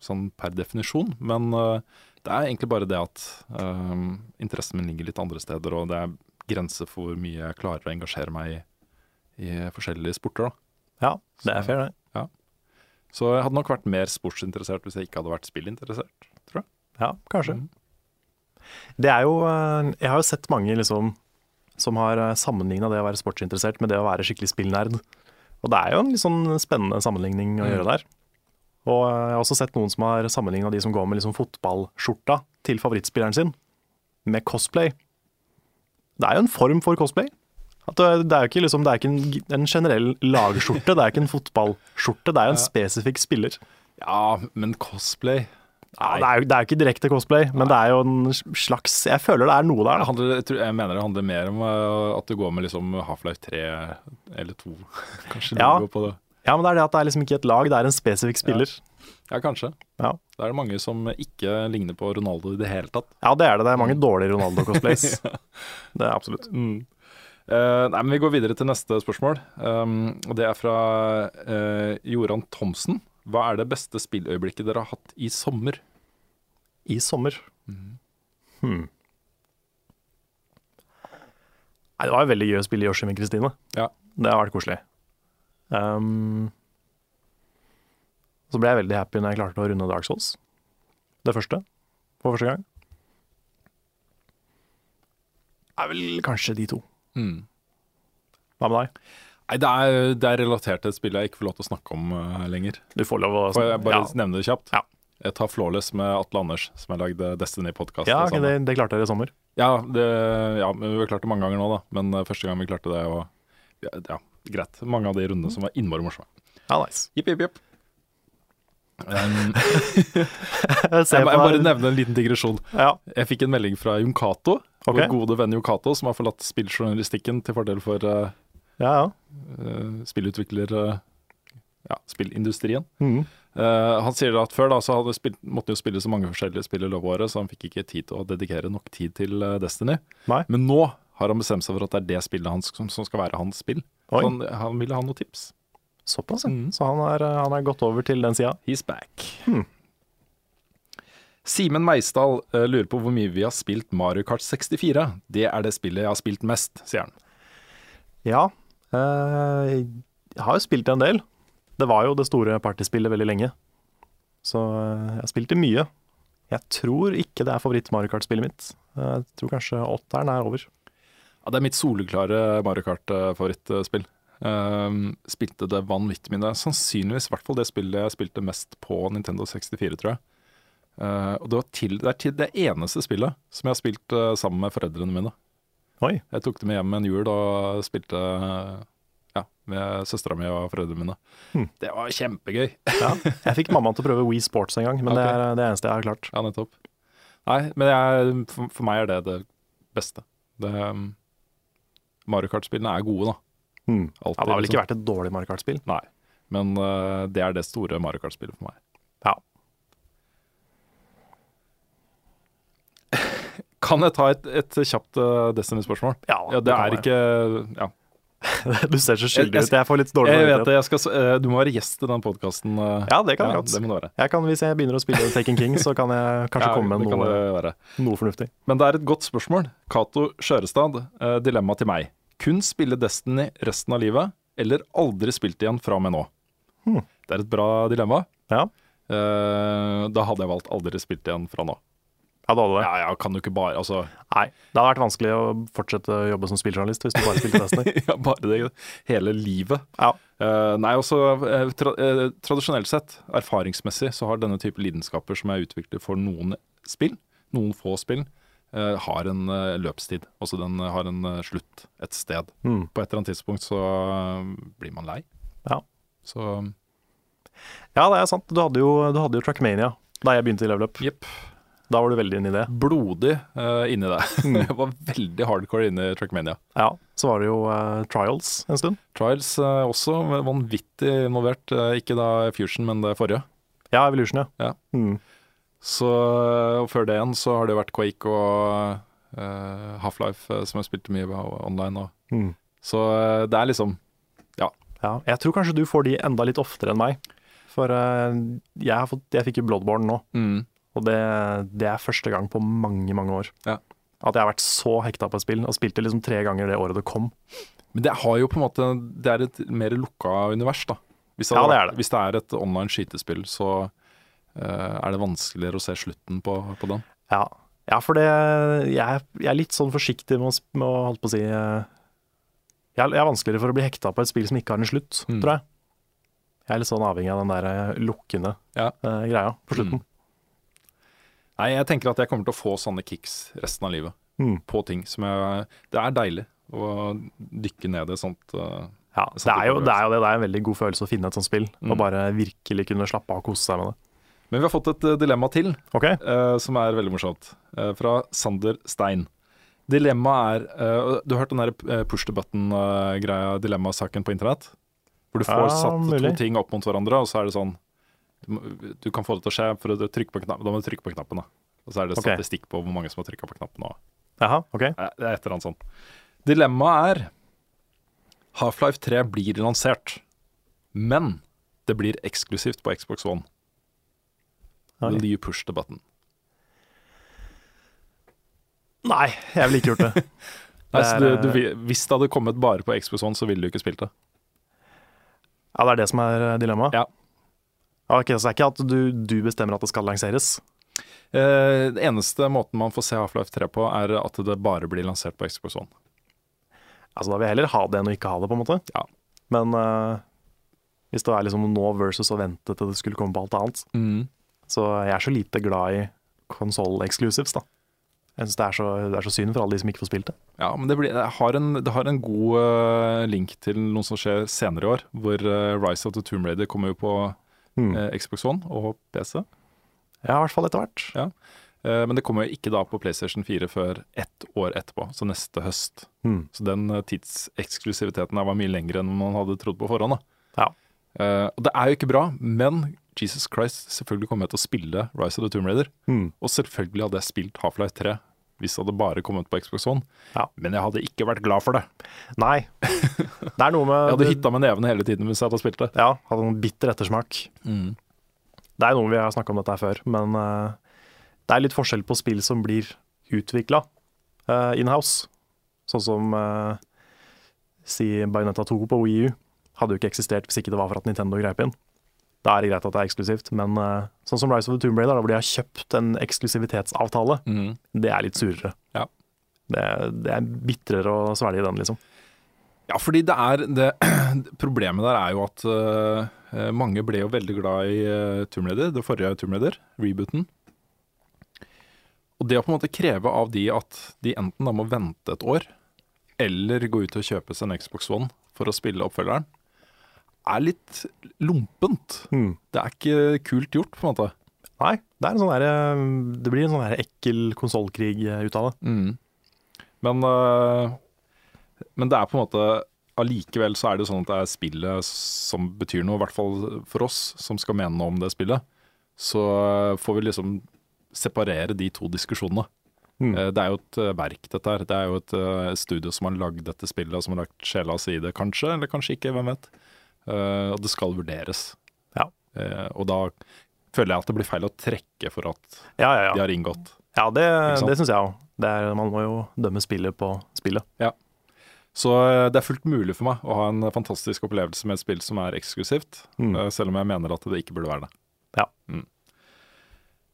Speaker 2: sånn per definisjon, men eh, det er egentlig bare det at eh, interessen min ligger litt andre steder, og det er grenser for hvor mye jeg klarer å engasjere meg i, i forskjellige sporter. Da.
Speaker 1: Ja, det er fair, det.
Speaker 2: Så jeg hadde nok vært mer sportsinteressert hvis jeg ikke hadde vært spillinteressert, tror jeg.
Speaker 1: Ja, kanskje.
Speaker 2: Mm.
Speaker 1: Det er jo eh, Jeg har jo sett mange liksom som har sammenligna det å være sportsinteressert med det å være skikkelig spillnerd. Og det er jo en litt sånn spennende sammenligning å
Speaker 2: Mm.
Speaker 1: gjøre der. Og eh, jeg har også sett noen som har sammenligna de som går med liksom fotballskjorta til favorittspilleren sin, med cosplay. Det er jo en form for cosplay. At det det er jo ikke, liksom, det er ikke en, g- en generell lagskjorte, det er ikke en fotballskjorte, det er jo en spesifikk spiller.
Speaker 2: Ja, men cosplay
Speaker 1: Ja, det, er jo, det er jo ikke direkte cosplay, men det er jo en slags Jeg føler det er noe der.
Speaker 2: Det
Speaker 1: da.
Speaker 2: handler, jeg, tror, jeg mener det handler mer om eh, at det går med liksom Half-Life 3 eller 2. Kanskje
Speaker 1: Ja.
Speaker 2: logo på det.
Speaker 1: Ja, men det er det at det er liksom ikke et lag, det er en spesifikk spiller.
Speaker 2: Ja, kanskje.
Speaker 1: Ja.
Speaker 2: Da er det mange som ikke ligner på Ronaldo i det hele tatt.
Speaker 1: ja, det er det. Det er mange dårlige Ronaldo-cosplays. Det er absolutt.
Speaker 2: Eh, nei, men Vi går videre til neste spørsmål. Um, og Det er fra eh, Joran Thomsen. Hva er det beste spilløyeblikket dere har hatt i sommer?
Speaker 1: I sommer. Hmm. Nei, det var jo veldig gøy å spille Yoshi med Kristine.
Speaker 2: Ja.
Speaker 1: Det har vært koselig. Um, Så ble jeg veldig happy når jeg klarte å runde Dark Souls. Det første. For første gang. Er vel kanskje de to.
Speaker 2: Mm.
Speaker 1: Hva med deg?
Speaker 2: Nei, det er, det er relatert til et spill jeg ikke får lov til å snakke om eh, lenger.
Speaker 1: Du får lov å
Speaker 2: Får jeg bare
Speaker 1: ja.
Speaker 2: nevne det kjapt?
Speaker 1: Ja.
Speaker 2: Jeg tar Flawless med Atle Anders, som har lagd eh, Destiny-podkast.
Speaker 1: Ja, ok, det, det klarte dere i sommer.
Speaker 2: ja, det- ja, men vi har klart det mange ganger nå, da. Men eh, første gang vi klarte det, og ja, ja, greit. Mange av de rundene som var innmari morsomme.
Speaker 1: Ja, nice.
Speaker 2: Jipp, jipp, jipp. Um,
Speaker 1: Jeg
Speaker 2: jeg,
Speaker 1: ser
Speaker 2: må-
Speaker 1: på
Speaker 2: jeg bare
Speaker 1: deg.
Speaker 2: nevne en liten digresjon.
Speaker 1: Ja.
Speaker 2: Jeg fikk en melding fra Jon Cato,
Speaker 1: Ok.
Speaker 2: vår gode venn Jon Cato, som har forlatt spilljournalistikken til fordel for eh,
Speaker 1: ja, ja.
Speaker 2: eh, spillutvikler... eh, ja, spillindustrien.
Speaker 1: Mhm.
Speaker 2: Eh, han sier at før da så hadde spill, måtte han jo spille så mange forskjellige spill i løpet av året, så han fikk ikke tid til å dedikere nok tid til eh, Destiny.
Speaker 1: Nei.
Speaker 2: Men nå har han bestemt seg for at det er det spillet hans som, som skal være hans spill.
Speaker 1: Oi.
Speaker 2: Så han, han ville ha noen tips.
Speaker 1: Såpass, ja.
Speaker 2: Mhm.
Speaker 1: Så han er, eh, han er gått over til den sida.
Speaker 2: He's back.
Speaker 1: Hmm.
Speaker 2: Simen Meisdal eh, lurer på hvor mye vi har spilt Mario Kart 64. Det er det spillet jeg har spilt mest, sier han.
Speaker 1: Ja. eh, jeg har jo spilt en del. Det var jo det store partyspillet veldig lenge. Så eh, jeg har spilt det mye. Jeg tror ikke det er favoritt-Mario Kart-spillet mitt. Eh, Jeg tror kanskje åtteren er over.
Speaker 2: Ja, det er mitt soleklare Mario Kart-favorittspill. Ehm, spilte det vanvittig mye. Det er Sannsynligvis i hvert fall det spillet jeg spilte mest på Nintendo 64, tror jeg. Eh, og det, var til, det er til det eneste spillet som jeg har spilt eh, sammen med foreldrene mine.
Speaker 1: Oi.
Speaker 2: Jeg tok det med hjem en jul og spilte eh, ja, med søstera mi og foreldrene mine.
Speaker 1: Hmm.
Speaker 2: Det var kjempegøy.
Speaker 1: Ja. Jeg fikk mamma til å prøve Wii Sports en gang, men det
Speaker 2: Ok.
Speaker 1: er det eneste jeg har klart.
Speaker 2: Ja, nettopp. Nei, men jeg, for, for meg er det det beste. Det, um, Mario Kart-spillene er gode, da.
Speaker 1: Mhm. Ja,
Speaker 2: Alltid,
Speaker 1: det har vel ikke
Speaker 2: liksom.
Speaker 1: vært et dårlig Mario Kart-spill.
Speaker 2: Nei. Men uh, det er det store Mario Kart-spillet for meg.
Speaker 1: Ja.
Speaker 2: Kan jeg ta et, et kjapt uh, Destiny-spørsmål?
Speaker 1: Ja,
Speaker 2: ja,
Speaker 1: det
Speaker 2: det
Speaker 1: kan
Speaker 2: er
Speaker 1: jeg.
Speaker 2: ikke ja.
Speaker 1: Du ser så
Speaker 2: Jeg- jeg-
Speaker 1: skyldig ut. Jeg får litt dårlig
Speaker 2: Jeg vet
Speaker 1: samvittighet.
Speaker 2: det, jeg skal, s- eh, Du må være gjest i den podkasten.
Speaker 1: Ja, det kan jeg godt.
Speaker 2: Det må du være.
Speaker 1: Jeg kan, hvis jeg begynner å spille Taken King, så kan jeg kanskje
Speaker 2: Ja,
Speaker 1: komme med
Speaker 2: det kan
Speaker 1: noe,
Speaker 2: det være.
Speaker 1: noe fornuftig.
Speaker 2: Men det er et godt spørsmål. Cato Skjørestad, eh, dilemma til meg. Kun spille Destiny resten av livet, eller aldri spilt igjen fra og med nå?
Speaker 1: Hmm.
Speaker 2: Det er et bra dilemma.
Speaker 1: Ja,
Speaker 2: Eh, da hadde jeg valgt aldri spilt igjen fra nå.
Speaker 1: ja du hadde det.
Speaker 2: Ja, ja, kan du ikke bare Altså,
Speaker 1: Nei, det hadde vært vanskelig å fortsette å jobbe som spilljournalist hvis du bare spilte Destiny.
Speaker 2: ja, bare det hele livet.
Speaker 1: Ja.
Speaker 2: Eh, nei, også eh, tra eh, tradisjonelt sett, erfaringsmessig, så har denne type lidenskaper som er utviklet for noen spill, noen få spill, eh, har en eh, løpstid. Altså den eh, har en eh, slutt et sted.
Speaker 1: Mm.
Speaker 2: på et eller annet tidspunkt så øh, blir man lei.
Speaker 1: Ja.
Speaker 2: Så
Speaker 1: ja, det er sant. Du hadde jo, du hadde jo Trackmania da jeg begynte i level up.
Speaker 2: jepp.
Speaker 1: Da var du veldig inne i det.
Speaker 2: Blodig øh, inni det. jeg var veldig hardcore inni Trackmania.
Speaker 1: Ja, Så var det jo eh, Trials en stund.
Speaker 2: Trials øh, også vanvittig involvert. øh, ikke da Fusion, men det forrige.
Speaker 1: Ja, Evolution, ja.
Speaker 2: Ja.
Speaker 1: Mm.
Speaker 2: Så øh, og før det igjen så har det vært Quake og øh, Half-Life øh, som jeg spilte mye av online. Og.
Speaker 1: Mm.
Speaker 2: Så øh, det er liksom
Speaker 1: ja. Jeg tror kanskje du får de enda litt oftere enn meg. For eh, jeg, har fått, jeg fikk jo Bloodborne nå,
Speaker 2: mm,
Speaker 1: og det, det er første gang på mange, mange år.
Speaker 2: Ja.
Speaker 1: At jeg har vært så hekta på et spill, og spilte liksom tre ganger det året det kom.
Speaker 2: Men det har jo på en måte Det er et mer lukka univers, da. Hvis det,
Speaker 1: Ja,
Speaker 2: hadde
Speaker 1: det
Speaker 2: vært-
Speaker 1: er det.
Speaker 2: Hvis det er et online skytespill, så eh, er det vanskeligere å se slutten på, på den.
Speaker 1: Ja, ja for det jeg, er- jeg er litt sånn forsiktig med å, sp- med å holdt på å si eh, Jeg er, jeg er vanskeligere for å bli hekta på et spill som ikke har en slutt,
Speaker 2: Mm.
Speaker 1: tror jeg. Jeg er litt sånn avhengig av den der eh, lukkende
Speaker 2: Ja. Mm.
Speaker 1: eh, greia på slutten.
Speaker 2: Nei, jeg tenker at jeg kommer til å få sånne kicks resten av livet
Speaker 1: Mm.
Speaker 2: på ting som jeg Det er deilig å dykke ned i sånt. eh,
Speaker 1: Ja,
Speaker 2: Jeg
Speaker 1: det
Speaker 2: satte
Speaker 1: er, jo,
Speaker 2: på
Speaker 1: det er jo det. Det er en veldig god følelse å finne et sånt spill,
Speaker 2: Mm.
Speaker 1: og bare virkelig kunne slappe av og kose seg med det.
Speaker 2: Men vi har fått et eh, dilemma til,
Speaker 1: Ok,
Speaker 2: eh, som er veldig morsomt. eh, fra Sander Stein. Dilemmaet er eh, Du har hørt den der eh, push to button-greia, dilemmasaken på internett? Hvor du
Speaker 1: Ja,
Speaker 2: får satt
Speaker 1: mulig.
Speaker 2: to ting opp mot hverandre, og så er det sånn Du, må- du kan få det til å skje, for å trykke på knappen, da må du trykke på knappen. da. Og så er det
Speaker 1: Ok.
Speaker 2: statistikk på hvor mange som har trykka på knappen. Og,
Speaker 1: Jaha, ok.
Speaker 2: Nei, det er et eller annet sånt. Dilemmaet er Half-Life 3 blir lansert, men det blir eksklusivt på Xbox One.
Speaker 1: Oi.
Speaker 2: Will you push the button?
Speaker 1: Nei, jeg ville ikke gjort det.
Speaker 2: Nei,
Speaker 1: Det
Speaker 2: så
Speaker 1: er,
Speaker 2: du,
Speaker 1: eh,
Speaker 2: du, vil- hvis det hadde kommet bare på Xbox One, så ville du ikke spilt det.
Speaker 1: Ja, Det er det som er eh, dilemmaet?
Speaker 2: Ja.
Speaker 1: Ja, ok, så det er ikke at du, du bestemmer at det skal lanseres.
Speaker 2: Eh, den eneste måten man får se Half-Life 3 på, er at det bare blir lansert på Xbox One.
Speaker 1: Altså, da vil jeg heller ha det enn å ikke ha det, på en måte.
Speaker 2: Ja.
Speaker 1: Men eh, hvis det er liksom nå versus å vente til det skulle komme på alt annet, så jeg er så lite glad i konsoll-exclusives, da. Jeg synes det er, så, det er så synd for alle de som ikke får spilt det.
Speaker 2: Ja, men det, blir, det, har en, det har en god eh, link til noe som skjer senere i år, hvor eh, Rise of the Tomb Raider kommer jo på
Speaker 1: Eh,
Speaker 2: eh, Xbox One og PC.
Speaker 1: Ja, i hvert fall etter hvert.
Speaker 2: Eh, men det kommer jo ikke da på PlayStation 4 før ett år etterpå, så neste høst.
Speaker 1: Mm.
Speaker 2: Så den eh, tidseksklusiviteten her var mye lengre enn man hadde trodd på forhånd. Da.
Speaker 1: Ja.
Speaker 2: Eh, og det er jo ikke bra, men Jesus Christ, selvfølgelig kommer jeg til å spille Rise of the Tomb Raider.
Speaker 1: Mm.
Speaker 2: Og selvfølgelig hadde jeg spilt Half-Life 3 hvis det hadde bare kommet på Xbox One.
Speaker 1: Ja.
Speaker 2: Men jeg hadde ikke vært glad for det.
Speaker 1: Nei. Det er noe med
Speaker 2: Jeg hadde hitta med nevene hele tiden hvis jeg hadde spilt det. Mm.
Speaker 1: Ja, hadde en bitter ettersmak. Det er noe vi har snakka om dette her før, men eh, det er litt forskjell på spill som blir utvikla inhouse. Sånn som eh, si Bayonetta 2 på Wii U hadde jo ikke eksistert hvis ikke det var for at Nintendo greip inn. Da er det greit at det er eksklusivt, men eh, sånn som Rise of the Tomb Raider, da, hvor de har kjøpt en eksklusivitetsavtale,
Speaker 2: Mm.
Speaker 1: det er litt surere.
Speaker 2: Ja.
Speaker 1: Det, det er bitrere å svelge den, liksom.
Speaker 2: Ja, fordi det er det, Problemet der er jo at øh, mange ble jo veldig glad i uh, Tomb Raider, det forrige Tomb Raider, rebooten. Og det å på en måte kreve av de at de enten da må vente et år, eller gå ut og kjøpe seg en Xbox One for å spille oppfølgeren, er litt lompent.
Speaker 1: Mm.
Speaker 2: Det er ikke kult gjort, på en måte.
Speaker 1: Nei, det, er en sånn der, eh, det blir en sånn der ekkel konsollkrig eh, ut av det.
Speaker 2: Mm. Men, øh, men det er på en måte Allikevel så er det sånn at det er spillet som betyr noe, i hvert fall for oss som skal mene noe om det spillet. Så øh, får vi liksom separere de to diskusjonene.
Speaker 1: Mm.
Speaker 2: Eh, Det er jo et øh, verk, dette her. Det er jo et øh, studio som har lagd dette spillet, og som har lagt sjela si i det, kanskje, eller kanskje ikke, hvem vet. Eh, Og det skal vurderes.
Speaker 1: Ja.
Speaker 2: Eh, Og da føler jeg at det blir feil å trekke for at
Speaker 1: Ja, ja, ja.
Speaker 2: de har inngått.
Speaker 1: Ja, det,
Speaker 2: sant?
Speaker 1: det syns jeg òg. Man må jo dømme spillet på spillet.
Speaker 2: Så eh, det er fullt mulig for meg å ha en fantastisk opplevelse med et spill som er eksklusivt,
Speaker 1: Mm.
Speaker 2: eh, selv om jeg mener at det ikke burde være det.
Speaker 1: Ja.
Speaker 2: Mm.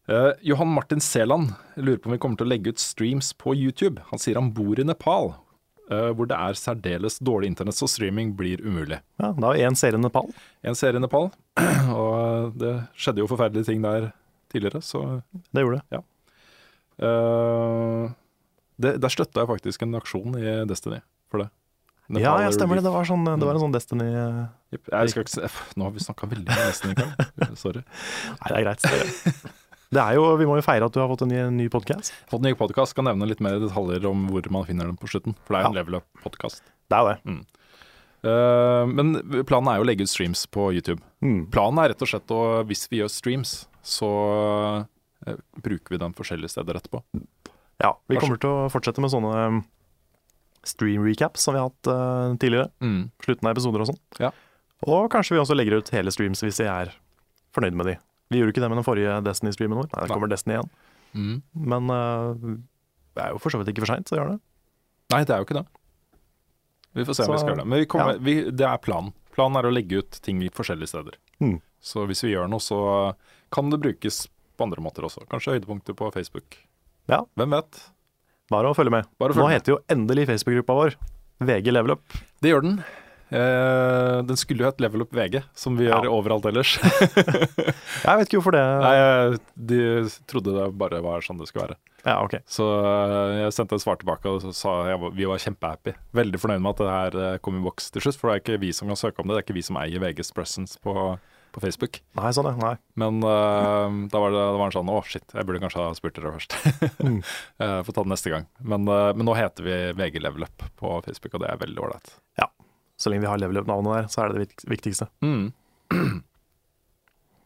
Speaker 2: Eh, Johan Martin Seland lurer på om vi kommer til å legge ut streams på YouTube. Han sier han bor i Nepal, eh, hvor det er særdeles dårlig internett, så streaming blir umulig.
Speaker 1: Ja, da er én serie Nepal.
Speaker 2: En serie i Nepal, og eh, det skjedde jo forferdelige ting der tidligere, så
Speaker 1: Det gjorde det.
Speaker 2: eh, det, Der støtta jeg faktisk en aksjon i Destiny for det.
Speaker 1: ja,
Speaker 2: Nepal
Speaker 1: ja, stemmer det.
Speaker 2: Relief
Speaker 1: Det var, sånn, det var en sånn Destiny eh,
Speaker 2: Jepp. Jeg skal ikke se. F, Nå har vi snakka veldig mye nesten i kveld. Sorry.
Speaker 1: Nei, det er greit. Det er, det er jo, vi må jo feire at du har fått en ny, en ny podkast.
Speaker 2: Fått en ny podkast, skal nevne litt mer detaljer om hvor man finner den på slutten. For det er jo en
Speaker 1: Ja.
Speaker 2: level up-podkast.
Speaker 1: Det er jo det.
Speaker 2: men planen er jo å legge ut streams på YouTube.
Speaker 1: Mm.
Speaker 2: Planen er rett og slett å, hvis vi gjør streams, så eh, bruker vi den forskjellige steder etterpå.
Speaker 1: Ja, vi kommer til å fortsette med sånne um, stream recaps som vi har hatt eh, tidligere. Slutten av episoder og sånn.
Speaker 2: Ja.
Speaker 1: Og kanskje vi også legger ut hele streams hvis vi er fornøyd med de. Vi gjorde ikke det med den forrige Destiny-streamen vår. Nei, det
Speaker 2: Nei.
Speaker 1: kommer Destiny igjen. Men eh, det er jo for så vidt ikke for seint å gjøre det.
Speaker 2: Nei, det er jo ikke det. Vi får se om
Speaker 1: Så-
Speaker 2: vi skal gjøre det. Men vi kommer,
Speaker 1: ja.
Speaker 2: vi, det er planen. Planen er å legge ut ting i forskjellige steder.
Speaker 1: Mm.
Speaker 2: Så hvis vi gjør noe, så kan det brukes på andre måter også. Kanskje høydepunkter på Facebook.
Speaker 1: Ja.
Speaker 2: Hvem vet?
Speaker 1: Bare å følge med.
Speaker 2: Bare å
Speaker 1: Nå
Speaker 2: følge med.
Speaker 1: heter jo endelig Facebook-gruppa vår VG Level Up.
Speaker 2: Det gjør den. Eh, den skulle jo hett Level Up VG, som vi gjør
Speaker 1: Ja.
Speaker 2: overalt ellers.
Speaker 1: Jeg vet ikke hvorfor det
Speaker 2: Nei, jeg- de trodde det bare var sånn det skulle være.
Speaker 1: Ja, ok.
Speaker 2: Så eh, jeg sendte et svar tilbake og så sa jeg, var- vi var kjempehappy. Veldig fornøyd med at det her eh, kom i boks til slutt, for det er ikke vi som kan søke om det. Det er ikke vi som eier VGs presence på, på Facebook.
Speaker 1: Nei, sånn, ja. Nei.
Speaker 2: Men eh, da var det, da var det sånn Å, shit, jeg burde kanskje ha spurt dere først.
Speaker 1: Mm.
Speaker 2: Eh, Får ta det neste gang. Men, eh, men nå heter vi VG Level Up på Facebook, og det er veldig ålreit.
Speaker 1: Så lenge vi har Level Up-navnet der, så er det det vik- viktigste.
Speaker 2: Mm.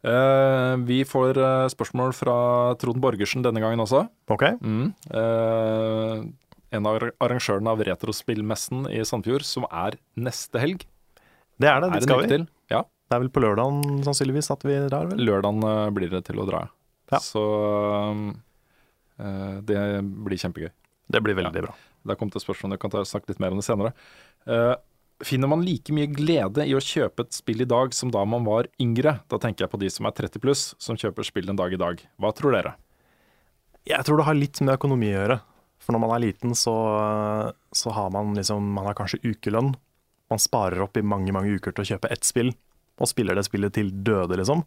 Speaker 2: Eh, vi får eh, spørsmål fra Trond Borgersen denne gangen også.
Speaker 1: Ok?
Speaker 2: Mm. Eh, en av arrangørene av Retrospillmessen i Sandfjord, som er neste helg.
Speaker 1: Det er det.
Speaker 2: er
Speaker 1: Dit
Speaker 2: en
Speaker 1: skal
Speaker 2: uke
Speaker 1: vi.
Speaker 2: til. Ja,
Speaker 1: Det er vel på lørdagen sannsynligvis at vi drar, vel?
Speaker 2: lørdagen eh, blir det til å dra.
Speaker 1: Ja.
Speaker 2: Så eh, det blir kjempegøy.
Speaker 1: Det blir
Speaker 2: veldig
Speaker 1: bra.
Speaker 2: Det har kommet et spørsmål, jeg kan ta, snakke litt mer om det senere. Eh, Finner man like mye glede i å kjøpe et spill i dag som da man var yngre? Da tenker jeg på de som er 30 pluss, som kjøper spill den dag i dag. Hva tror dere?
Speaker 1: Jeg tror det har litt med økonomi å gjøre. For når man er liten, så, så har man liksom Man har kanskje ukelønn. Man sparer opp i mange mange uker til å kjøpe ett spill, og spiller det spillet til døde, liksom.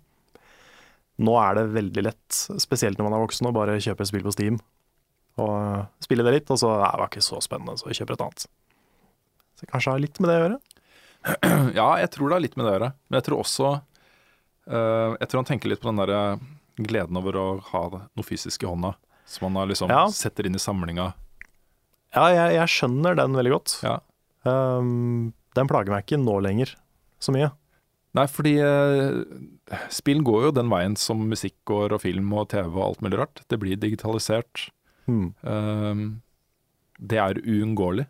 Speaker 1: Nå er det veldig lett, spesielt når man er voksen, å bare kjøpe et spill på Steam. Og spille det litt, og så "Nei, det var ikke så spennende, så vi kjøper et annet. Så det kanskje har litt med det å gjøre.
Speaker 2: Ja, jeg tror det har litt med det å gjøre. Men jeg tror også eh, Jeg tror han tenker litt på den der gleden over å ha noe fysisk i hånda. Som han har liksom
Speaker 1: Ja.
Speaker 2: setter inn i samlinga.
Speaker 1: Ja, jeg, jeg skjønner den veldig godt.
Speaker 2: Ja.
Speaker 1: Ehm, den plager meg ikke nå lenger så mye.
Speaker 2: Nei, fordi eh, spill går jo den veien som musikk går, og film og TV og alt mulig rart. Det blir digitalisert.
Speaker 1: Hmm.
Speaker 2: Ehm, det er uunngåelig.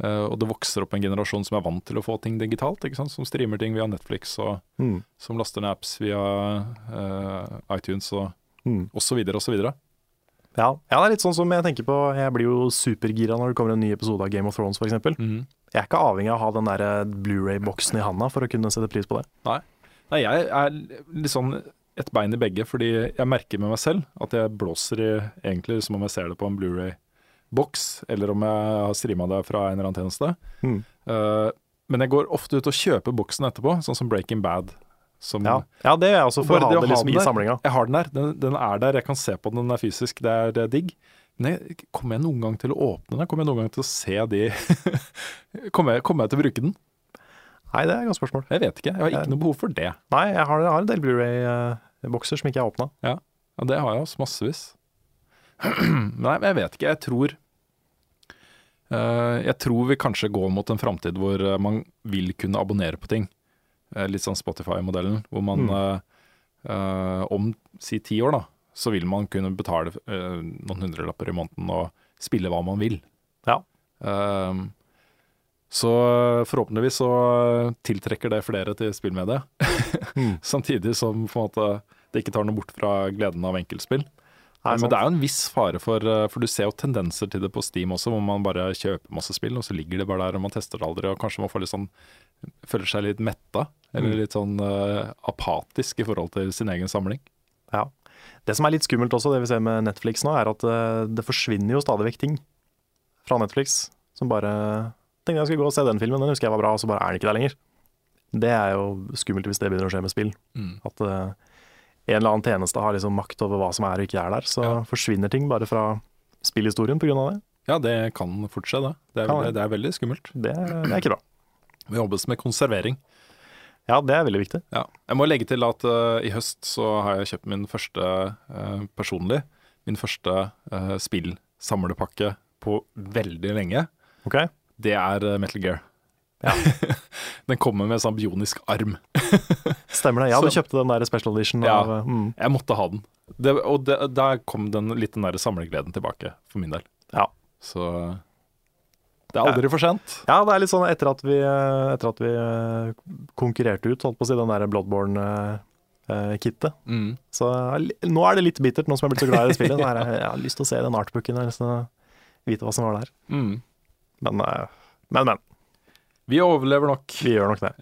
Speaker 2: Eh, og det vokser opp en generasjon som er vant til å få ting digitalt, ikke sant? som streamer ting via Netflix, og
Speaker 1: Hmm.
Speaker 2: som laster ned apps via eh, iTunes og
Speaker 1: Hmm.
Speaker 2: osv. osv.
Speaker 1: Ja. ja, det er litt sånn som jeg tenker på Jeg blir jo supergira når det kommer en ny episode av Game of Thrones, f.eks.
Speaker 2: Mm.
Speaker 1: Jeg er ikke avhengig av å ha den der eh, Blu-ray-boksen i handa for å kunne sette pris på det.
Speaker 2: Nei, jeg er litt sånn et bein i begge, fordi jeg merker med meg selv at jeg blåser i egentlig som om jeg ser det på en Blu-ray-boks, eller om jeg har streama det fra en eller annen tjeneste.
Speaker 1: Hmm.
Speaker 2: Eh, men jeg går ofte ut og kjøper boksen etterpå, sånn som Breaking Bad. Som
Speaker 1: Ja. ja, det gjør jeg også, for
Speaker 2: Mm. Bare
Speaker 1: å ha
Speaker 2: det å
Speaker 1: det
Speaker 2: ha
Speaker 1: liksom
Speaker 2: den
Speaker 1: i
Speaker 2: der.
Speaker 1: samlinga.
Speaker 2: Jeg har den der, den, den er der, jeg kan se på den, den er fysisk, det er, det er digg. Men jeg, kommer jeg noen gang til å åpne den? Kommer jeg noen gang til å se de kommer, jeg, kommer jeg til å bruke den?
Speaker 1: Nei, det er et godt spørsmål.
Speaker 2: Jeg vet ikke, jeg har
Speaker 1: Ja.
Speaker 2: ikke noe behov for det.
Speaker 1: Nei, jeg har, jeg har en del Blu-ray-bokser som ikke er åpna.
Speaker 2: Ja, det har jeg også, massevis. Nei, men jeg vet ikke, jeg tror eh, Jeg tror vi kanskje går mot en framtid hvor eh, man vil kunne abonnere på ting. Eh, litt sånn Spotify-modellen, hvor man eh, eh, om si ti år, da, så vil man kunne betale eh, noen hundrelapper i måneden og spille hva man vil.
Speaker 1: Ja.
Speaker 2: Eh, så eh, forhåpentligvis så eh, tiltrekker det flere til spillmediet.
Speaker 1: Mm.
Speaker 2: Samtidig som på en måte det ikke tar noe bort fra gleden av enkeltspill.
Speaker 1: Nei,
Speaker 2: Men
Speaker 1: sant.
Speaker 2: det er jo en viss fare for eh, For du ser jo tendenser til det på Steam også, hvor man bare kjøper masse spill, og så ligger det bare der, og man tester det aldri, og kanskje man får litt sånn Føler seg litt metta, eller
Speaker 1: Mm.
Speaker 2: litt sånn eh, apatisk i forhold til sin egen samling.
Speaker 1: Ja. Det som er litt skummelt også, det vi ser med Netflix nå, er at eh, det forsvinner jo stadig vekk ting fra Netflix som bare Tenkte jeg skulle gå og se den filmen, den husker jeg var bra, og så bare er den ikke der lenger. Det er jo skummelt hvis det begynner å skje med spill. At eh, en eller annen tjeneste har liksom makt over hva som er og ikke er der. Så
Speaker 2: Ja.
Speaker 1: forsvinner ting bare fra spillhistorien pga. det.
Speaker 2: Ja, det kan fort skje, det. Det er,
Speaker 1: Kan
Speaker 2: veldig,
Speaker 1: det.
Speaker 2: det er veldig skummelt.
Speaker 1: det. Det er ikke bra.
Speaker 2: Det jobbes med konservering.
Speaker 1: Ja, det er veldig viktig.
Speaker 2: Ja. Jeg må legge til at eh, i høst så har jeg kjøpt min første eh, personlig, min første eh, spillsamlepakke på veldig lenge.
Speaker 1: Ok?
Speaker 2: Det er eh, Metal Gear.
Speaker 1: Ja.
Speaker 2: den kommer med en sånn bionisk arm.
Speaker 1: Stemmer det. Ja, du
Speaker 2: Så-
Speaker 1: kjøpte den der special edition
Speaker 2: Ja.
Speaker 1: av eh, mm.
Speaker 2: Jeg måtte ha den. Det, og det, der kom den litt den der samlegleden tilbake, for min del.
Speaker 1: Ja.
Speaker 2: Så det er aldri for sent.
Speaker 1: Ja, det er litt sånn etter at vi, eh, etter at vi eh, konkurrerte ut, holdt på å si, den der Bloodborne-kittet.
Speaker 2: Mm.
Speaker 1: Så eh, li- nå er det litt bittert, nå som jeg er blitt så glad i det spillet. Nå er jeg, jeg har lyst til å se den artbooken, jeg har lyst til å vite hva som var der.
Speaker 2: Mm.
Speaker 1: Men, eh, men, men.
Speaker 2: Vi overlever nok.
Speaker 1: Vi gjør nok det.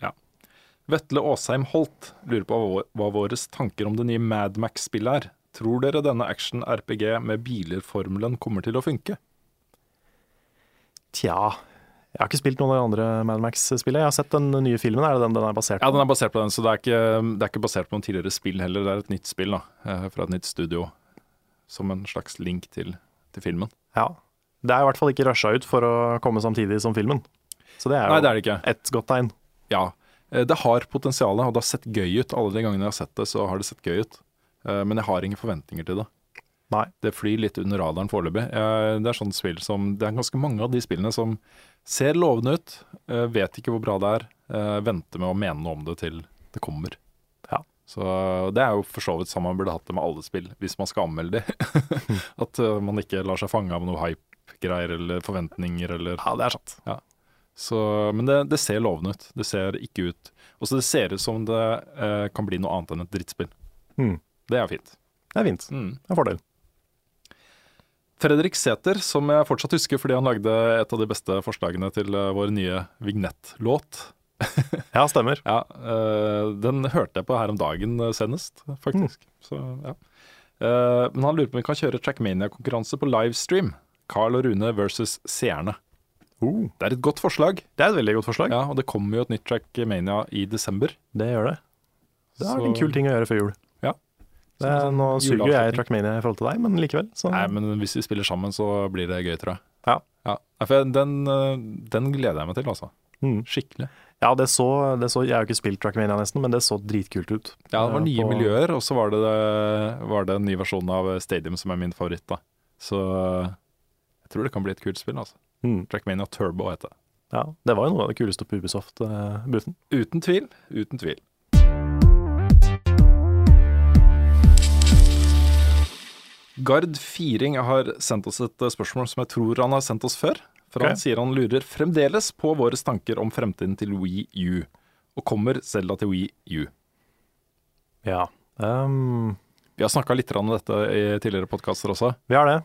Speaker 2: Vetle Aasheim Holt lurer på hva- hva våre tanker om det nye Mad Max-spillet er. Tror dere denne action-RPG med biler-formelen kommer til å funke?
Speaker 1: Tja. Jeg har ikke spilt noen av de andre Mad Max-spillene. Jeg har sett den nye filmen, er det den den er basert
Speaker 2: Ja,
Speaker 1: på?
Speaker 2: den er basert på den, så det er ikke, det er ikke basert på noen tidligere spill heller. Det er et nytt spill da, eh, fra et nytt studio, som en slags link til, til filmen.
Speaker 1: Ja. Det er i hvert fall ikke rusha ut for å komme samtidig som filmen. Så det er jo
Speaker 2: Nei, det er det ikke.
Speaker 1: et godt tegn.
Speaker 2: Ja, eh, det har potensial, og det har sett gøy ut. Alle de gangene jeg har sett det, så har det sett gøy ut. Eh, Men jeg har ingen forventninger til det.
Speaker 1: Nei.
Speaker 2: Det flyr litt under radaren foreløpig. Eh, Det er sånne spill som Det er ganske mange av de spillene som ser lovende ut, eh, vet ikke hvor bra det er, eh, venter med å mene noe om det til det kommer.
Speaker 1: Ja.
Speaker 2: Så det er jo for så vidt sånn man burde hatt det med alle spill, hvis man skal anmelde de. At eh, man ikke lar seg fange av noe hype-greier eller forventninger eller
Speaker 1: Ja, det er sant.
Speaker 2: så, men det, det ser lovende ut. Det ser ikke ut Og så det ser ut som det eh, kan bli noe annet enn et drittspill.
Speaker 1: Mm.
Speaker 2: Det er fint.
Speaker 1: Det er fint. Det er en fordel.
Speaker 2: Fredrik Sæther, som jeg fortsatt husker fordi han lagde et av de beste forslagene til eh, vår nye vignettlåt.
Speaker 1: Ja, stemmer.
Speaker 2: Ja, eh, den hørte jeg på her om dagen eh, senest, faktisk.
Speaker 1: Mm.
Speaker 2: Så, ja. Eh, men han lurer på om vi kan kjøre Trackmania-konkurranse på livestream. Carl og Rune versus seerne.
Speaker 1: Oh,
Speaker 2: Det er et godt forslag,
Speaker 1: det er et veldig godt forslag.
Speaker 2: Uh. ja, og det kommer jo et nytt Trackmania i desember.
Speaker 1: Det gjør det. Det er
Speaker 2: Så-
Speaker 1: en kul ting å gjøre før jul.
Speaker 2: Ja.
Speaker 1: Det er, nå
Speaker 2: Som en sånn
Speaker 1: suger jo jeg
Speaker 2: juleavslutning.
Speaker 1: Trackmania i forhold til deg, men likevel. Så.
Speaker 2: Nei, men hvis vi spiller sammen, så blir det gøy, tror jeg.
Speaker 1: Ja.
Speaker 2: Nei, for jeg- den, eh, den gleder jeg meg til, altså.
Speaker 1: Mm.
Speaker 2: Skikkelig.
Speaker 1: Ja, det så, det så Jeg har jo ikke spilt Trackmania nesten, men det så dritkult ut.
Speaker 2: Ja, det var
Speaker 1: Eh,
Speaker 2: nye
Speaker 1: på-
Speaker 2: miljøer, og så var det, var det en ny versjon av eh, Stadium som er min favoritt. da. Så eh, jeg tror det kan bli et kult spill. altså.
Speaker 1: Mm.
Speaker 2: Trackmania Turbo heter det.
Speaker 1: Ja, det var jo noe av det kuleste på eh, Ubisoft-booten.
Speaker 2: Uten tvil, uten tvil. Gard Firing har sendt oss et spørsmål som jeg tror han har sendt oss før. For
Speaker 1: Ok.
Speaker 2: han sier han lurer fremdeles på våre tanker om fremtiden til Wii U. Og kommer Selda til Wii U.
Speaker 1: Ja. Um,
Speaker 2: Vi har snakka litt grann om dette i tidligere podkaster også.
Speaker 1: vi har det.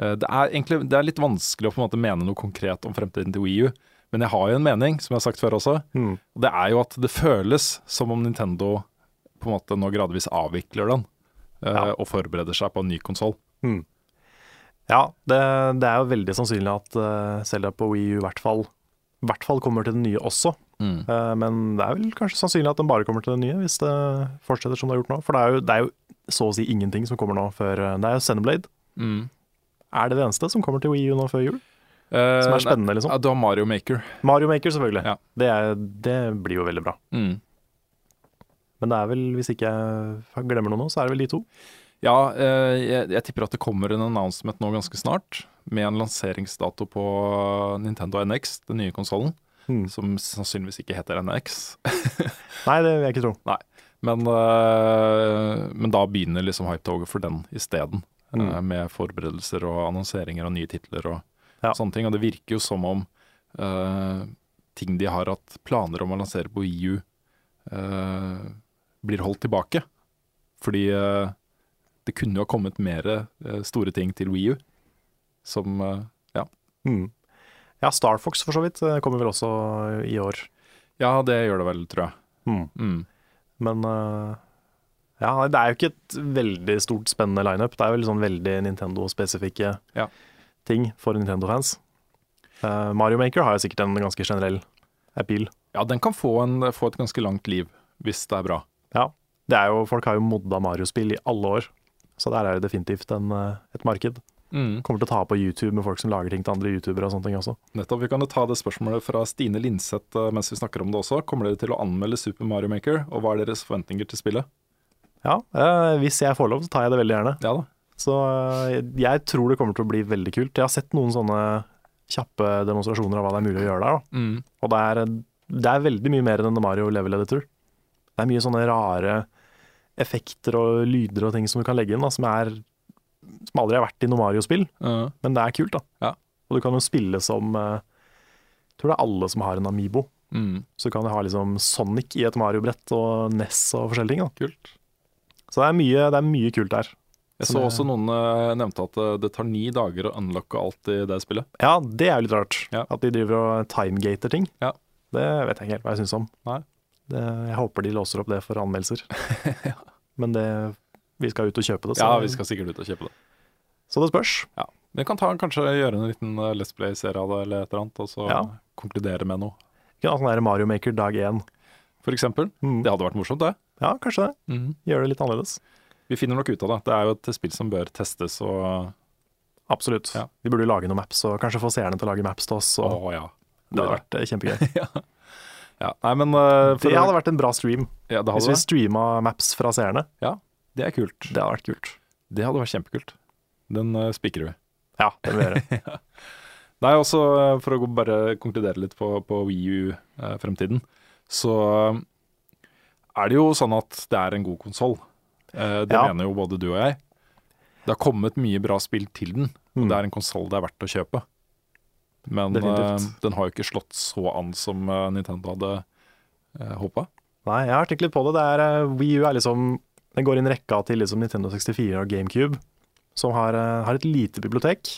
Speaker 2: Eh, Det er egentlig det er litt vanskelig å på en måte mene noe konkret om fremtiden til Wii U. Men jeg har jo en mening, som jeg har sagt før også.
Speaker 1: Mm.
Speaker 2: Og det er jo at det føles som om Nintendo på en måte nå gradvis avvikler den. eh,
Speaker 1: Ja.
Speaker 2: Og forbereder seg på en ny konsoll.
Speaker 1: Ja, det, det er jo veldig sannsynlig at uh, Zelda på Wii U i hvert fall, i hvert fall kommer til den nye også. Eh, men det er vel kanskje sannsynlig at den bare kommer til den nye, hvis det fortsetter som det har gjort nå. For det er jo, det er jo så å si ingenting som kommer nå før eh, Det er jo Xenoblade. Er det det eneste som kommer til Wii U nå før jul? Som er spennende, liksom.
Speaker 2: Eh, Ja, du har Mario Maker.
Speaker 1: Mario Maker, selvfølgelig.
Speaker 2: Ja.
Speaker 1: Det, er, det blir jo veldig bra. Men det er vel, hvis ikke jeg glemmer noe nå, så er det vel de to.
Speaker 2: Ja, eh, jeg, jeg tipper at det kommer en announcement nå ganske snart. Med en lanseringsdato på Nintendo NX, den nye konsollen.
Speaker 1: Mm.
Speaker 2: Som sannsynligvis ikke heter NX.
Speaker 1: Nei, det vil jeg ikke tro.
Speaker 2: Men, eh, men da begynner liksom hypetoget for den isteden.
Speaker 1: Mm.
Speaker 2: eh, med forberedelser og annonseringer av nye titler og
Speaker 1: Ja.
Speaker 2: sånne ting. Og det virker jo som om eh, ting de har hatt planer om å lansere på EU, eh, blir holdt tilbake. Fordi eh, det kunne jo ha kommet mer eh, store ting til Wii U, som eh,
Speaker 1: Mm. Ja, Star Fox for så vidt eh, kommer vel også i år.
Speaker 2: Ja, det gjør det vel, tror jeg.
Speaker 1: Mm.
Speaker 2: Mm.
Speaker 1: Men eh, ja, det er jo ikke et veldig stort spennende lineup. Det er jo litt sånn veldig Nintendo-spesifikke
Speaker 2: Ja.
Speaker 1: ting for Nintendo-fans. Eh, Mario Maker har jo sikkert en ganske generell appeal.
Speaker 2: Ja, den kan få, en, få et ganske langt liv, hvis det er bra.
Speaker 1: Det er jo, folk har jo modda Mario-spill i alle år, så der er det definitivt en, eh, et marked. Kommer til å ta på YouTube med folk som lager ting til andre youtubere og sånne ting også.
Speaker 2: Nettopp, Vi kan jo ta det spørsmålet fra Stine Linseth eh, mens vi snakker om det også. Kommer dere til å anmelde Super Mario Maker, og hva er deres forventninger til spillet?
Speaker 1: Ja, eh, hvis jeg får lov, så tar jeg det veldig gjerne.
Speaker 2: Ja da.
Speaker 1: Så eh, jeg tror det kommer til å bli veldig kult. Jeg har sett noen sånne kjappe demonstrasjoner av hva det er mulig å gjøre der. da.
Speaker 2: Mm.
Speaker 1: Og det er, eh, det er veldig mye mer enn en Mario level editor. Det er mye sånne rare effekter og lyder og ting som du kan legge inn, da, som, er, som aldri har vært i noe Mario-spill,
Speaker 2: Eh,
Speaker 1: men det er kult. da.
Speaker 2: Ja.
Speaker 1: Og du kan jo spille som eh, Jeg tror det er alle som har en Amibo.
Speaker 2: mm.
Speaker 1: Så du kan jo ha liksom Sonic i et Mario-brett og Ness og forskjellige ting. da.
Speaker 2: Kult.
Speaker 1: Så det er mye, det er mye kult der.
Speaker 2: Jeg
Speaker 1: Som
Speaker 2: så
Speaker 1: er-
Speaker 2: også noen eh, nevnte at eh, det tar ni dager å unlocke alt i det spillet.
Speaker 1: Ja, det er jo litt rart.
Speaker 2: Ja.
Speaker 1: At de driver og timegater ting.
Speaker 2: Ja.
Speaker 1: Det vet jeg ikke helt hva jeg syns om.
Speaker 2: Nei.
Speaker 1: Det, jeg håper de låser opp det for anmeldelser. Men det, vi skal ut og kjøpe det, så,
Speaker 2: Ja, vi skal sikkert ut og kjøpe det.
Speaker 1: så det spørs.
Speaker 2: Vi kan ta, kanskje gjøre en liten eh, Let's Play-serie av det, eller et eller annet, og så
Speaker 1: Ja.
Speaker 2: konkludere med noe.
Speaker 1: Vi kan ha sånn der Mario Maker dag én.
Speaker 2: For eksempel.
Speaker 1: Mm.
Speaker 2: Det hadde vært morsomt, det.
Speaker 1: Ja, kanskje det.
Speaker 2: Mm.
Speaker 1: Gjøre det litt annerledes.
Speaker 2: Vi finner nok ut av det. Det er jo et spill som bør testes, og
Speaker 1: Absolutt.
Speaker 2: Ja.
Speaker 1: Vi burde jo lage noen maps, og kanskje få seerne til å lage maps til oss. Og
Speaker 2: Å, ja.
Speaker 1: det hadde vært eh, kjempegøy.
Speaker 2: ja. Nei, men eh, for
Speaker 1: Det
Speaker 2: å-
Speaker 1: hadde vært en bra stream
Speaker 2: ja, det,
Speaker 1: hvis
Speaker 2: hadde
Speaker 1: vi
Speaker 2: det.
Speaker 1: streama maps fra seerne.
Speaker 2: det er kult.
Speaker 1: Det hadde vært kult.
Speaker 2: Det hadde vært kjempekult. Den uh, spikrer vi.
Speaker 1: Ja, det må vi gjøre.
Speaker 2: Nei, også eh, for å gå- bare konkludere litt på, på WiiU-fremtiden, så eh, er det jo sånn at det er en god konsoll. Eh, det
Speaker 1: Ja.
Speaker 2: mener jo både du og jeg. Det har kommet mye bra spill til den, og
Speaker 1: Mm.
Speaker 2: det er en konsoll det er verdt å kjøpe. Men eh,
Speaker 1: Definitivt.
Speaker 2: den har jo ikke slått så an som eh, Nintendo hadde uh, håpa.
Speaker 1: Nei, jeg har tenkt litt på det. det er, eh, Wii U er liksom Den går inn rekka til liksom Nintendo 64 og GameCube. som har, eh, har et lite bibliotek,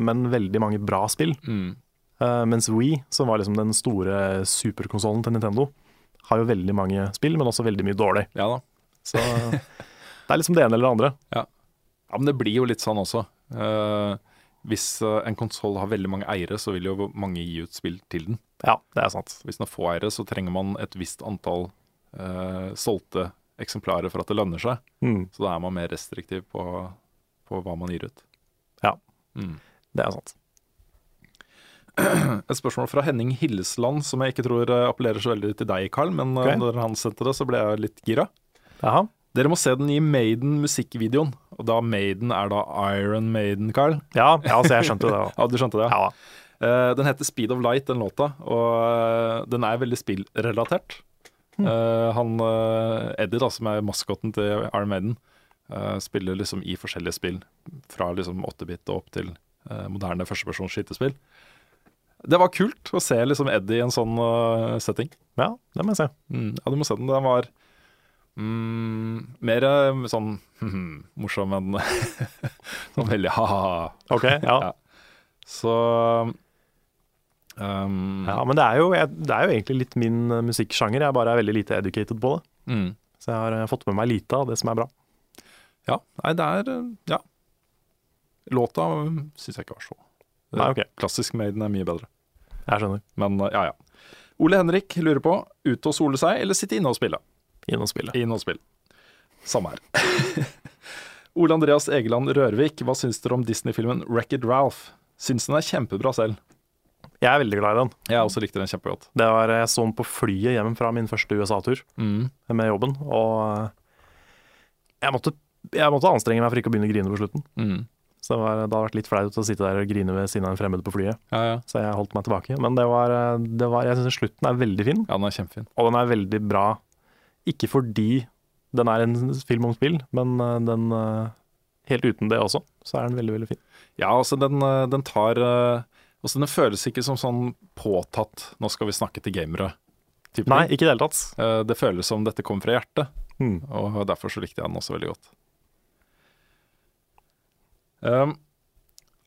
Speaker 1: men veldig mange bra spill.
Speaker 2: Mm.
Speaker 1: Eh, mens Wii, som var liksom den store superkonsollen til Nintendo, har jo veldig mange spill, men også veldig mye dårlig.
Speaker 2: Ja da.
Speaker 1: Så det er liksom det ene eller det andre.
Speaker 2: Ja, men det blir jo litt sånn også. Eh, hvis eh, en konsoll har veldig mange eiere, så vil jo mange gi ut spill til den.
Speaker 1: Ja, det er sant.
Speaker 2: Hvis den har få eiere, så trenger man et visst antall eh, solgte eksemplarer for at det lønner seg.
Speaker 1: Mm,
Speaker 2: Så da er man mer restriktiv på, på hva man gir ut.
Speaker 1: Ja.
Speaker 2: Mm.
Speaker 1: det er sant.
Speaker 2: Et spørsmål fra Henning Hillesland, som jeg ikke tror eh, appellerer så veldig til deg, Carl, men eh,
Speaker 1: Ok.
Speaker 2: når han sendte det, så ble jeg litt gira.
Speaker 1: Jaha.
Speaker 2: Dere må se den i Maiden-musikkvideoen. Og da Maiden er da Iron Maiden, Carl.
Speaker 1: Ja, ja, altså jeg skjønte det. da.
Speaker 2: Ja, du skjønte det?
Speaker 1: Ja, da.
Speaker 2: Eh, den heter Speed of Light, den låta, og eh, den er veldig spillrelatert. Eh, han eh, Eddie, da, som er maskotten til Iron Maiden, eh, spiller liksom i forskjellige spill. Fra liksom 8-bit og opp til eh, moderne førstepersons skytespill. Det var kult å se liksom Eddie i en sånn eh, setting.
Speaker 1: ja, det må jeg se.
Speaker 2: Mm, ja, du må se den. Den var mm, mer eh, sånn morsom enn sånn veldig ha-ha.
Speaker 1: Ok, ja.
Speaker 2: Ja. Så eh, um,
Speaker 1: ja men det er, jo, jeg, det er jo egentlig litt min eh, musikksjanger, jeg bare er veldig lite educated på det.
Speaker 2: Mm.
Speaker 1: Så jeg har eh, fått med meg lite av det som er bra.
Speaker 2: Ja, nei, det er eh, Ja. Låta um, syns jeg ikke var så
Speaker 1: Nei, ok,
Speaker 2: Klassisk Maiden er mye bedre.
Speaker 1: jeg skjønner.
Speaker 2: Men eh, ja, ja. Ole Henrik lurer på ute og sole seg eller sitte inne og spille.
Speaker 1: Inn og spille.
Speaker 2: Inn og spille. Samme her. Ole Andreas Egeland Rørvik, hva syns dere om Disney-filmen Wreck-It Ralph? Syns den er kjempebra selv.
Speaker 1: Jeg er veldig glad i den.
Speaker 2: Jeg også likte den kjempegodt.
Speaker 1: Det var, eh, jeg så den på flyet hjem fra min første USA-tur
Speaker 2: Mm.
Speaker 1: med jobben, og eh, jeg måtte, jeg måtte anstrenge meg for ikke å begynne å grine på slutten.
Speaker 2: Mm.
Speaker 1: Så det, var, det hadde vært litt flaut å sitte der og grine ved siden av en fremmed på flyet,
Speaker 2: Ja, ja.
Speaker 1: så jeg holdt meg tilbake. Men det var, eh, det var, jeg syns slutten er veldig fin,
Speaker 2: ja, den er kjempefin.
Speaker 1: og den er veldig bra. Ikke fordi den er en film om spill, men eh, den eh, Helt uten det også, så er den veldig veldig fin.
Speaker 2: Ja, altså den, eh, den tar eh, Altså den føles ikke som sånn påtatt 'nå skal vi snakke til gamere'. type
Speaker 1: Nei,
Speaker 2: ting.
Speaker 1: ikke i det hele tatt.
Speaker 2: Eh, Det føles som dette kommer fra hjertet,
Speaker 1: Hmm.
Speaker 2: og derfor så likte jeg den også veldig godt. Um,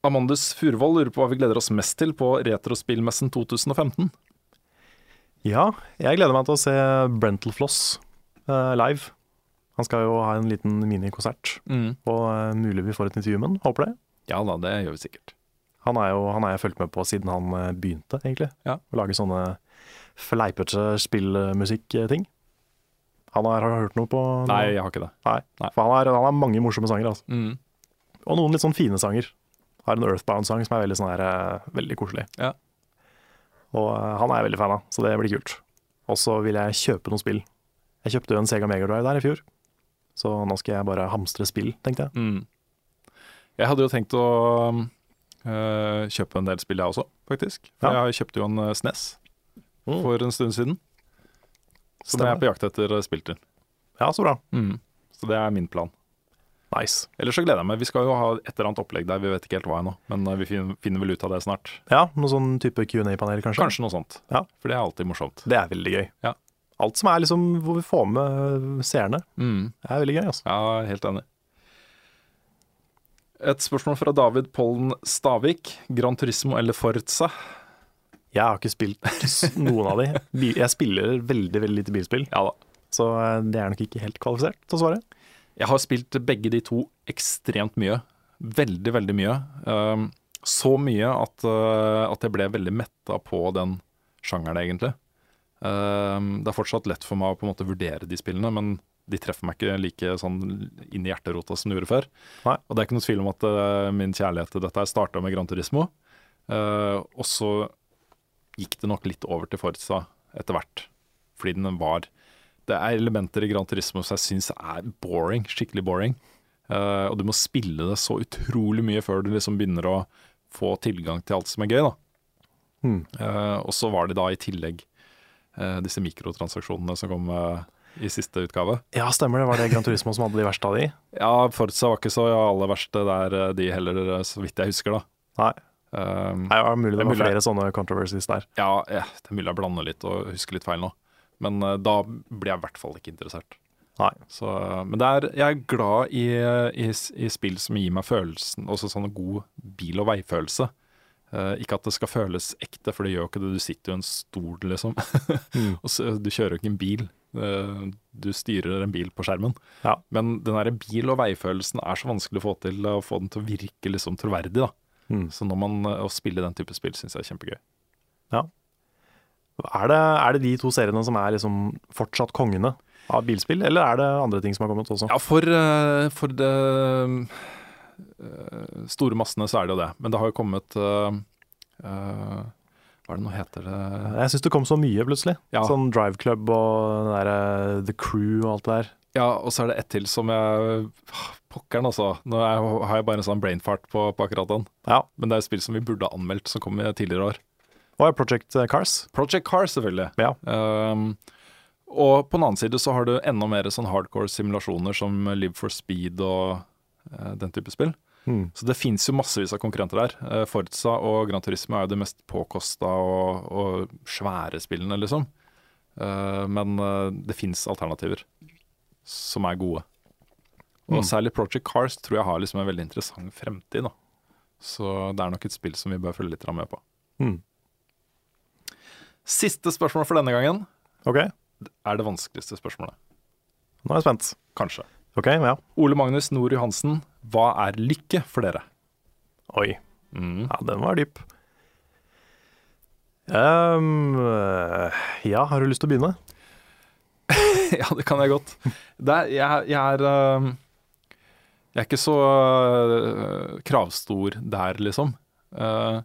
Speaker 2: Amandus Furvoll lurer på hva vi gleder oss mest til på Retrospillmessen 2015.
Speaker 1: Ja, jeg gleder meg til å se Brentalfloss eh, live. Han skal jo ha en liten minikonsert, og eh, mulig vi får et intervju med han. Håper det.
Speaker 2: Ja da, det gjør vi sikkert.
Speaker 1: Han er jo han har jeg fulgt med på siden han eh, begynte, egentlig.
Speaker 2: Ja.
Speaker 1: Å lage sånne fleipete spillmusikk-ting. Han har, har du hørt noe på
Speaker 2: Nei, jeg har ikke det.
Speaker 1: For han har, han har mange morsomme sanger, altså.
Speaker 2: Mm.
Speaker 1: Og noen litt sånn fine sanger. Har en Earthbound-sang som er veldig, sånn her, eh, veldig koselig.
Speaker 2: Ja.
Speaker 1: Og eh, han er jeg veldig fan av, så det blir kult. Og så vil jeg kjøpe noen spill. Jeg kjøpte jo en Sega Mega Drive der i fjor, så nå skal jeg bare hamstre spill, tenkte jeg.
Speaker 2: Mm. Jeg hadde jo tenkt å um, eh, kjøpe en del spill, jeg også, faktisk. For
Speaker 1: Ja.
Speaker 2: jeg kjøpte jo en eh, SNES
Speaker 1: Mm.
Speaker 2: for en stund siden. Som jeg er på jakt etter eh, spill til.
Speaker 1: Ja, så bra.
Speaker 2: Så det er min plan.
Speaker 1: Nice.
Speaker 2: Ellers så gleder jeg meg. Vi skal jo ha et eller annet opplegg der, vi vet ikke helt hva ennå. Men eh, vi fin- finner vel ut av det snart.
Speaker 1: Ja, noen sånn type Q&A-panel, kanskje?
Speaker 2: Kanskje noe sånt.
Speaker 1: Ja.
Speaker 2: For det er alltid morsomt.
Speaker 1: Det er veldig gøy.
Speaker 2: Ja.
Speaker 1: Alt som er liksom hvor vi får med eh, seerne, er veldig gøy, altså.
Speaker 2: Ja, helt enig. Et spørsmål fra David Pollen Stavik. Gran Turismo eller Forza?
Speaker 1: Jeg har ikke spilt s- noen av de. Bil- Jeg spiller veldig, veldig lite bilspill,
Speaker 2: Ja da.
Speaker 1: så eh, det er nok ikke helt kvalifisert til å svare.
Speaker 2: Jeg har spilt begge de to ekstremt mye. Veldig, veldig mye. Um, så mye at, uh, at jeg ble veldig metta på den sjangeren, egentlig. Um, det er fortsatt lett for meg å på en måte vurdere de spillene, men de treffer meg ikke like sånn inn i hjerterota som de gjorde før.
Speaker 1: Nei.
Speaker 2: Og det er ikke noe tvil om at uh, min kjærlighet til dette starta med Gran Turismo, uh, og så gikk det nok litt over til Forza etter hvert, fordi den var det er elementer i Gran Turismo som jeg syns er boring, skikkelig boring. Eh, og du må spille det så utrolig mye før du liksom begynner å få tilgang til alt som er gøy. da.
Speaker 1: Hmm.
Speaker 2: Eh, og så var det da i tillegg eh, disse mikrotransaksjonene som kom eh, i siste utgave.
Speaker 1: Ja, stemmer det. Var det Gran Turismo som hadde de verste av de?
Speaker 2: Ja, Forza var ikke så aller verste der, eh, de heller, eh, så vidt jeg husker, da.
Speaker 1: Nei,
Speaker 2: Eh,
Speaker 1: Nei det var mulig det var
Speaker 2: Mulig.
Speaker 1: flere sånne controversies der.
Speaker 2: ja, eh, det er mulig jeg blander litt og husker litt feil nå, men eh, da ble jeg i hvert fall ikke interessert.
Speaker 1: Nei.
Speaker 2: Så, men det er, jeg er glad i, i, i spill som gir meg følelsen, også sånn god bil- og veifølelse. Eh, ikke at det skal føles ekte, for det gjør jo ikke det. Du sitter jo i en stol, liksom. Og så, du kjører jo ikke en bil. Eh, du styrer en bil på skjermen.
Speaker 1: Ja.
Speaker 2: Men den der bil- og veifølelsen er så vanskelig å få til, å få den til å virke liksom troverdig. da.
Speaker 1: Mm.
Speaker 2: Så når man, eh, å spille den type spill syns jeg er kjempegøy.
Speaker 1: Er, det, er det de to seriene som er liksom fortsatt kongene av bilspill, eller er det andre ting som har kommet også?
Speaker 2: Ja, for, eh, for det eh, store massene så er det jo det. Men det har jo kommet eh, eh, Hva er det nå heter det
Speaker 1: Jeg syns det kom så mye plutselig.
Speaker 2: Ja.
Speaker 1: Sånn Drive Club og den der, eh, The Crew og alt det der.
Speaker 2: Ja, og så er det ett til som jeg Pokkeren, altså. Nå er, jeg- har jeg bare en sånn brain fart på, på akkurat den.
Speaker 1: Ja.
Speaker 2: Men det er jo spill som vi burde ha anmeldt, som kom i tidligere år.
Speaker 1: Og ja, Project eh, Cars.
Speaker 2: Project Car, selvfølgelig.
Speaker 1: Ja.
Speaker 2: Ehm, og på den annen side så har du enda mer sånn hardcore simulasjoner som Live for Speed og eh, den type spill.
Speaker 1: Mm.
Speaker 2: Så det fins jo massevis av konkurrenter der. Eh, Forza og Gran Turismo er jo de mest påkosta og, og svære spillene, liksom. Eh, Men eh, det fins alternativer som er gode. Og særlig Project Cars tror jeg har liksom en veldig interessant fremtid. Da. Så det er nok et spill som vi bør følge litt grann med på.
Speaker 1: Mm.
Speaker 2: Siste spørsmål for denne gangen
Speaker 1: OK, nå
Speaker 2: er det vanskeligste spørsmålet.
Speaker 1: er jeg spent.
Speaker 2: Kanskje.
Speaker 1: OK, ja.
Speaker 2: Ole Magnus Nord Johansen, hva er lykke for dere? Mm.
Speaker 1: Oi. Ja, den var dyp. Ehm, eh, ja, har du lyst til å begynne?
Speaker 2: ja, det kan jeg godt. Det er, jeg, jeg er eh, Jeg er ikke så eh, kravstor der, liksom. Eh,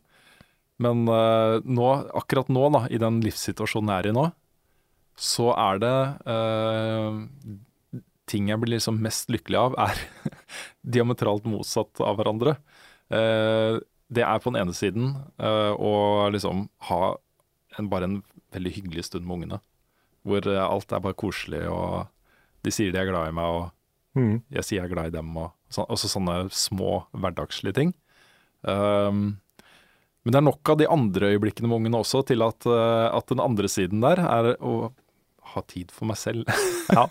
Speaker 2: men eh, nå, akkurat nå, da, i den livssituasjonen jeg er i nå, så er det eh, Ting jeg blir liksom mest lykkelig av, er diametralt motsatt av hverandre. Eh, det er på den ene siden eh, å liksom ha en, bare en veldig hyggelig stund med ungene hvor eh, alt er bare koselig, og de sier de er glad i meg, og
Speaker 1: Mm.
Speaker 2: jeg sier jeg er glad i dem, og så, også sånne små hverdagslige ting. Ehm, men det er nok av de andre øyeblikkene med ungene også til at, eh, at den andre siden der er å ha tid for meg selv.
Speaker 1: Ja.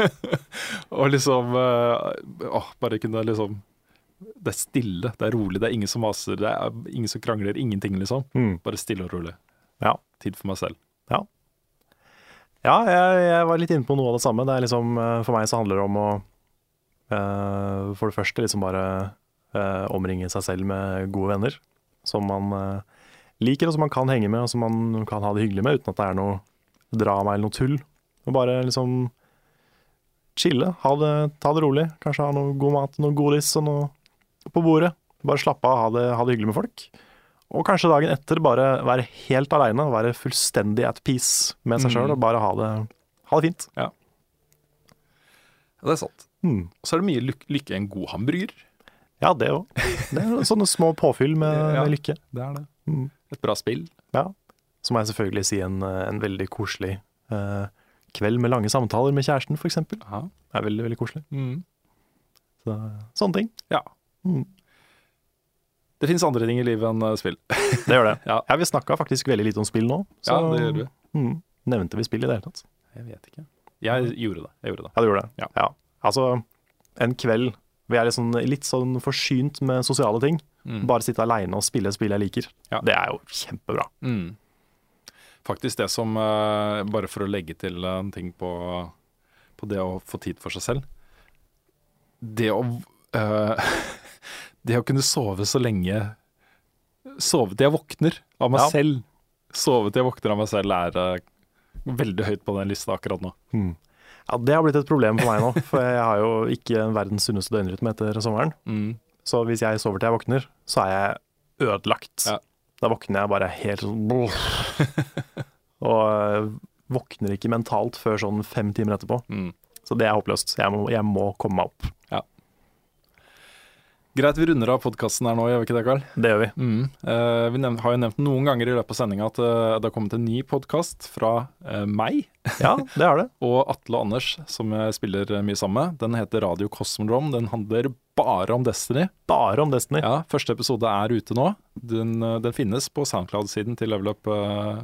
Speaker 2: og liksom eh, åh, Bare kunne liksom Det er stille, det er rolig, det er ingen som maser, det er ingen som krangler, ingenting, liksom.
Speaker 1: Mm.
Speaker 2: Bare stille og rolig.
Speaker 1: Ja.
Speaker 2: Tid for meg selv.
Speaker 1: Ja, jeg, jeg var litt inne på noe av det samme. Det er liksom, eh, for meg så handler det om å eh, For det første liksom bare eh, omringe seg selv med gode venner som man eh, liker, og som man kan henge med, og som man kan ha det hyggelig med uten at det er noe drama eller noe tull. Og bare liksom chille, ha det, ta det rolig. Kanskje ha noe god mat, noe godis og noe på bordet. Bare slappe av, ha det, ha det hyggelig med folk. Og kanskje dagen etter bare være helt aleine, være fullstendig at peace med seg sjøl
Speaker 2: Mm.
Speaker 1: og bare ha det, ha det fint.
Speaker 2: Ja, det er sant.
Speaker 1: Mm.
Speaker 2: Og så er det mye lyk lykke i en god hamburger.
Speaker 1: Ja, det òg. Det er sånne små påfyll med,
Speaker 2: Ja.
Speaker 1: med lykke.
Speaker 2: Det er det.
Speaker 1: Mm.
Speaker 2: Et bra spill.
Speaker 1: Ja. Så må jeg selvfølgelig si en, eh, en veldig koselig eh, kveld med lange samtaler med kjæresten, f.eks. Det er veldig, veldig koselig.
Speaker 2: Mm.
Speaker 1: Så, sånne ting.
Speaker 2: Ja.
Speaker 1: Mm.
Speaker 2: Det fins andre ting i livet enn eh, spill.
Speaker 1: Det gjør det.
Speaker 2: Ja.
Speaker 1: Ja, vi snakka faktisk veldig lite om spill nå, så
Speaker 2: Ja, det gjør vi.
Speaker 1: Mm, nevnte vi spill i det hele tatt.
Speaker 2: Jeg vet ikke. Jeg gjorde det. Jeg gjorde det.
Speaker 1: Ja, du gjorde det.
Speaker 2: Ja.
Speaker 1: Altså, en kveld hvor jeg er litt sånn, litt sånn forsynt med sosiale ting. Bare sitte aleine og spille et spill jeg liker.
Speaker 2: Mm. Ja.
Speaker 1: Det er jo kjempebra.
Speaker 2: Mm. Faktisk det som eh, Bare for å legge til en ting på, på det å få tid for seg selv. Det å eh, Det å kunne sove så lenge Sove til jeg våkner av meg
Speaker 1: Ja.
Speaker 2: selv. Sove til jeg våkner av meg selv er eh, veldig høyt på den lista akkurat nå.
Speaker 1: Ja, Det har blitt et problem for meg nå, for jeg har jo ikke verdens sunneste døgnrytme etter sommeren.
Speaker 2: Mm.
Speaker 1: Så hvis jeg sover til jeg våkner, så er jeg ødelagt.
Speaker 2: Ja.
Speaker 1: Da våkner jeg bare helt sånn brr. Og øh, våkner ikke mentalt før sånn fem timer etterpå.
Speaker 2: Mm.
Speaker 1: Så det er håpløst. Jeg må, jeg må komme meg opp.
Speaker 2: Greit, vi runder av podkasten her nå, gjør vi ikke det, Karl?
Speaker 1: Det gjør vi.
Speaker 2: Eh, vi nev- har jo nevnt noen ganger i løpet av sendinga at eh, det har kommet en ny podkast fra eh, meg
Speaker 1: Ja, det har det.
Speaker 2: og Atle og Anders, som jeg spiller eh, mye sammen med. Den heter Radio Cosmodrome. Den handler bare om Destiny.
Speaker 1: Bare om Destiny.
Speaker 2: Ja, Første episode er ute nå. Den, eh, den finnes på SoundCloud-siden til Level Up eh,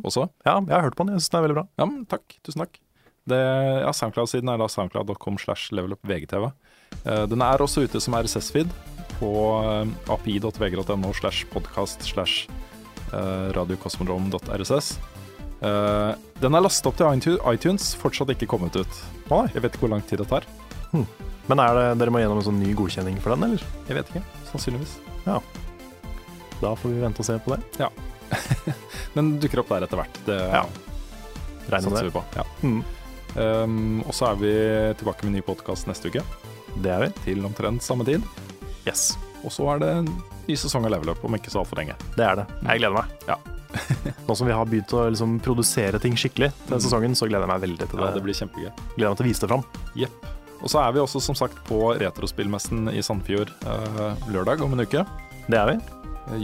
Speaker 2: også.
Speaker 1: Ja, jeg har hørt på den. Jeg syns den er veldig bra.
Speaker 2: Ja, men takk. Tusen takk. Det, ja, Soundcloud-siden er da soundcloud.com slash levelup vgtv. Eh, Den er også ute som RSS-feed på eh, api.vg.no slash podcast slash eh, radiokosmodrom.rss. Eh, Den er lastet opp til iTunes- iTunes, fortsatt ikke kommet ut.
Speaker 1: Å nei.
Speaker 2: Jeg vet ikke hvor lang tid det tar.
Speaker 1: Men er det, dere må gjennom en sånn ny godkjenning for den, eller?
Speaker 2: Jeg vet ikke, sannsynligvis.
Speaker 1: Da får vi vente og se på det.
Speaker 2: Den dukker opp der etter hvert. Det
Speaker 1: Ja, Regner
Speaker 2: satser
Speaker 1: med det.
Speaker 2: vi på. Ja.
Speaker 1: Mm.
Speaker 2: Um, og så er vi tilbake med ny podkast neste uke,
Speaker 1: Det er vi.
Speaker 2: til omtrent samme tid.
Speaker 1: Yes.
Speaker 2: Og så er det en ny sesong av Level Up om ikke så altfor lenge.
Speaker 1: Det er det. Jeg gleder meg.
Speaker 2: Mm. Ja. Mm.
Speaker 1: Nå som vi har begynt å liksom, produsere ting skikkelig denne sesongen, så gleder jeg meg veldig til det.
Speaker 2: Ja, det blir kjempegøy.
Speaker 1: Gleder meg til å vise det fram.
Speaker 2: Jepp. Og så er vi også som sagt på Retrospillmessen i Sandfjord eh, lørdag om en uke. Eh,
Speaker 1: Det er vi.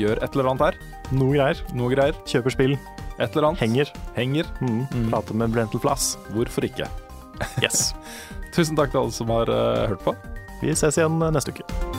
Speaker 2: Gjør et eller annet her.
Speaker 1: Noe greier.
Speaker 2: Noe greier.
Speaker 1: Kjøper spill.
Speaker 2: Et eller annet.
Speaker 1: Henger.
Speaker 2: Henger.
Speaker 1: Mm.
Speaker 2: Mm.
Speaker 1: Prater med Brental Plass.
Speaker 2: Hvorfor ikke?
Speaker 1: Yes.
Speaker 2: Tusen takk til alle som har eh, hørt på.
Speaker 1: vi ses igjen eh, neste uke.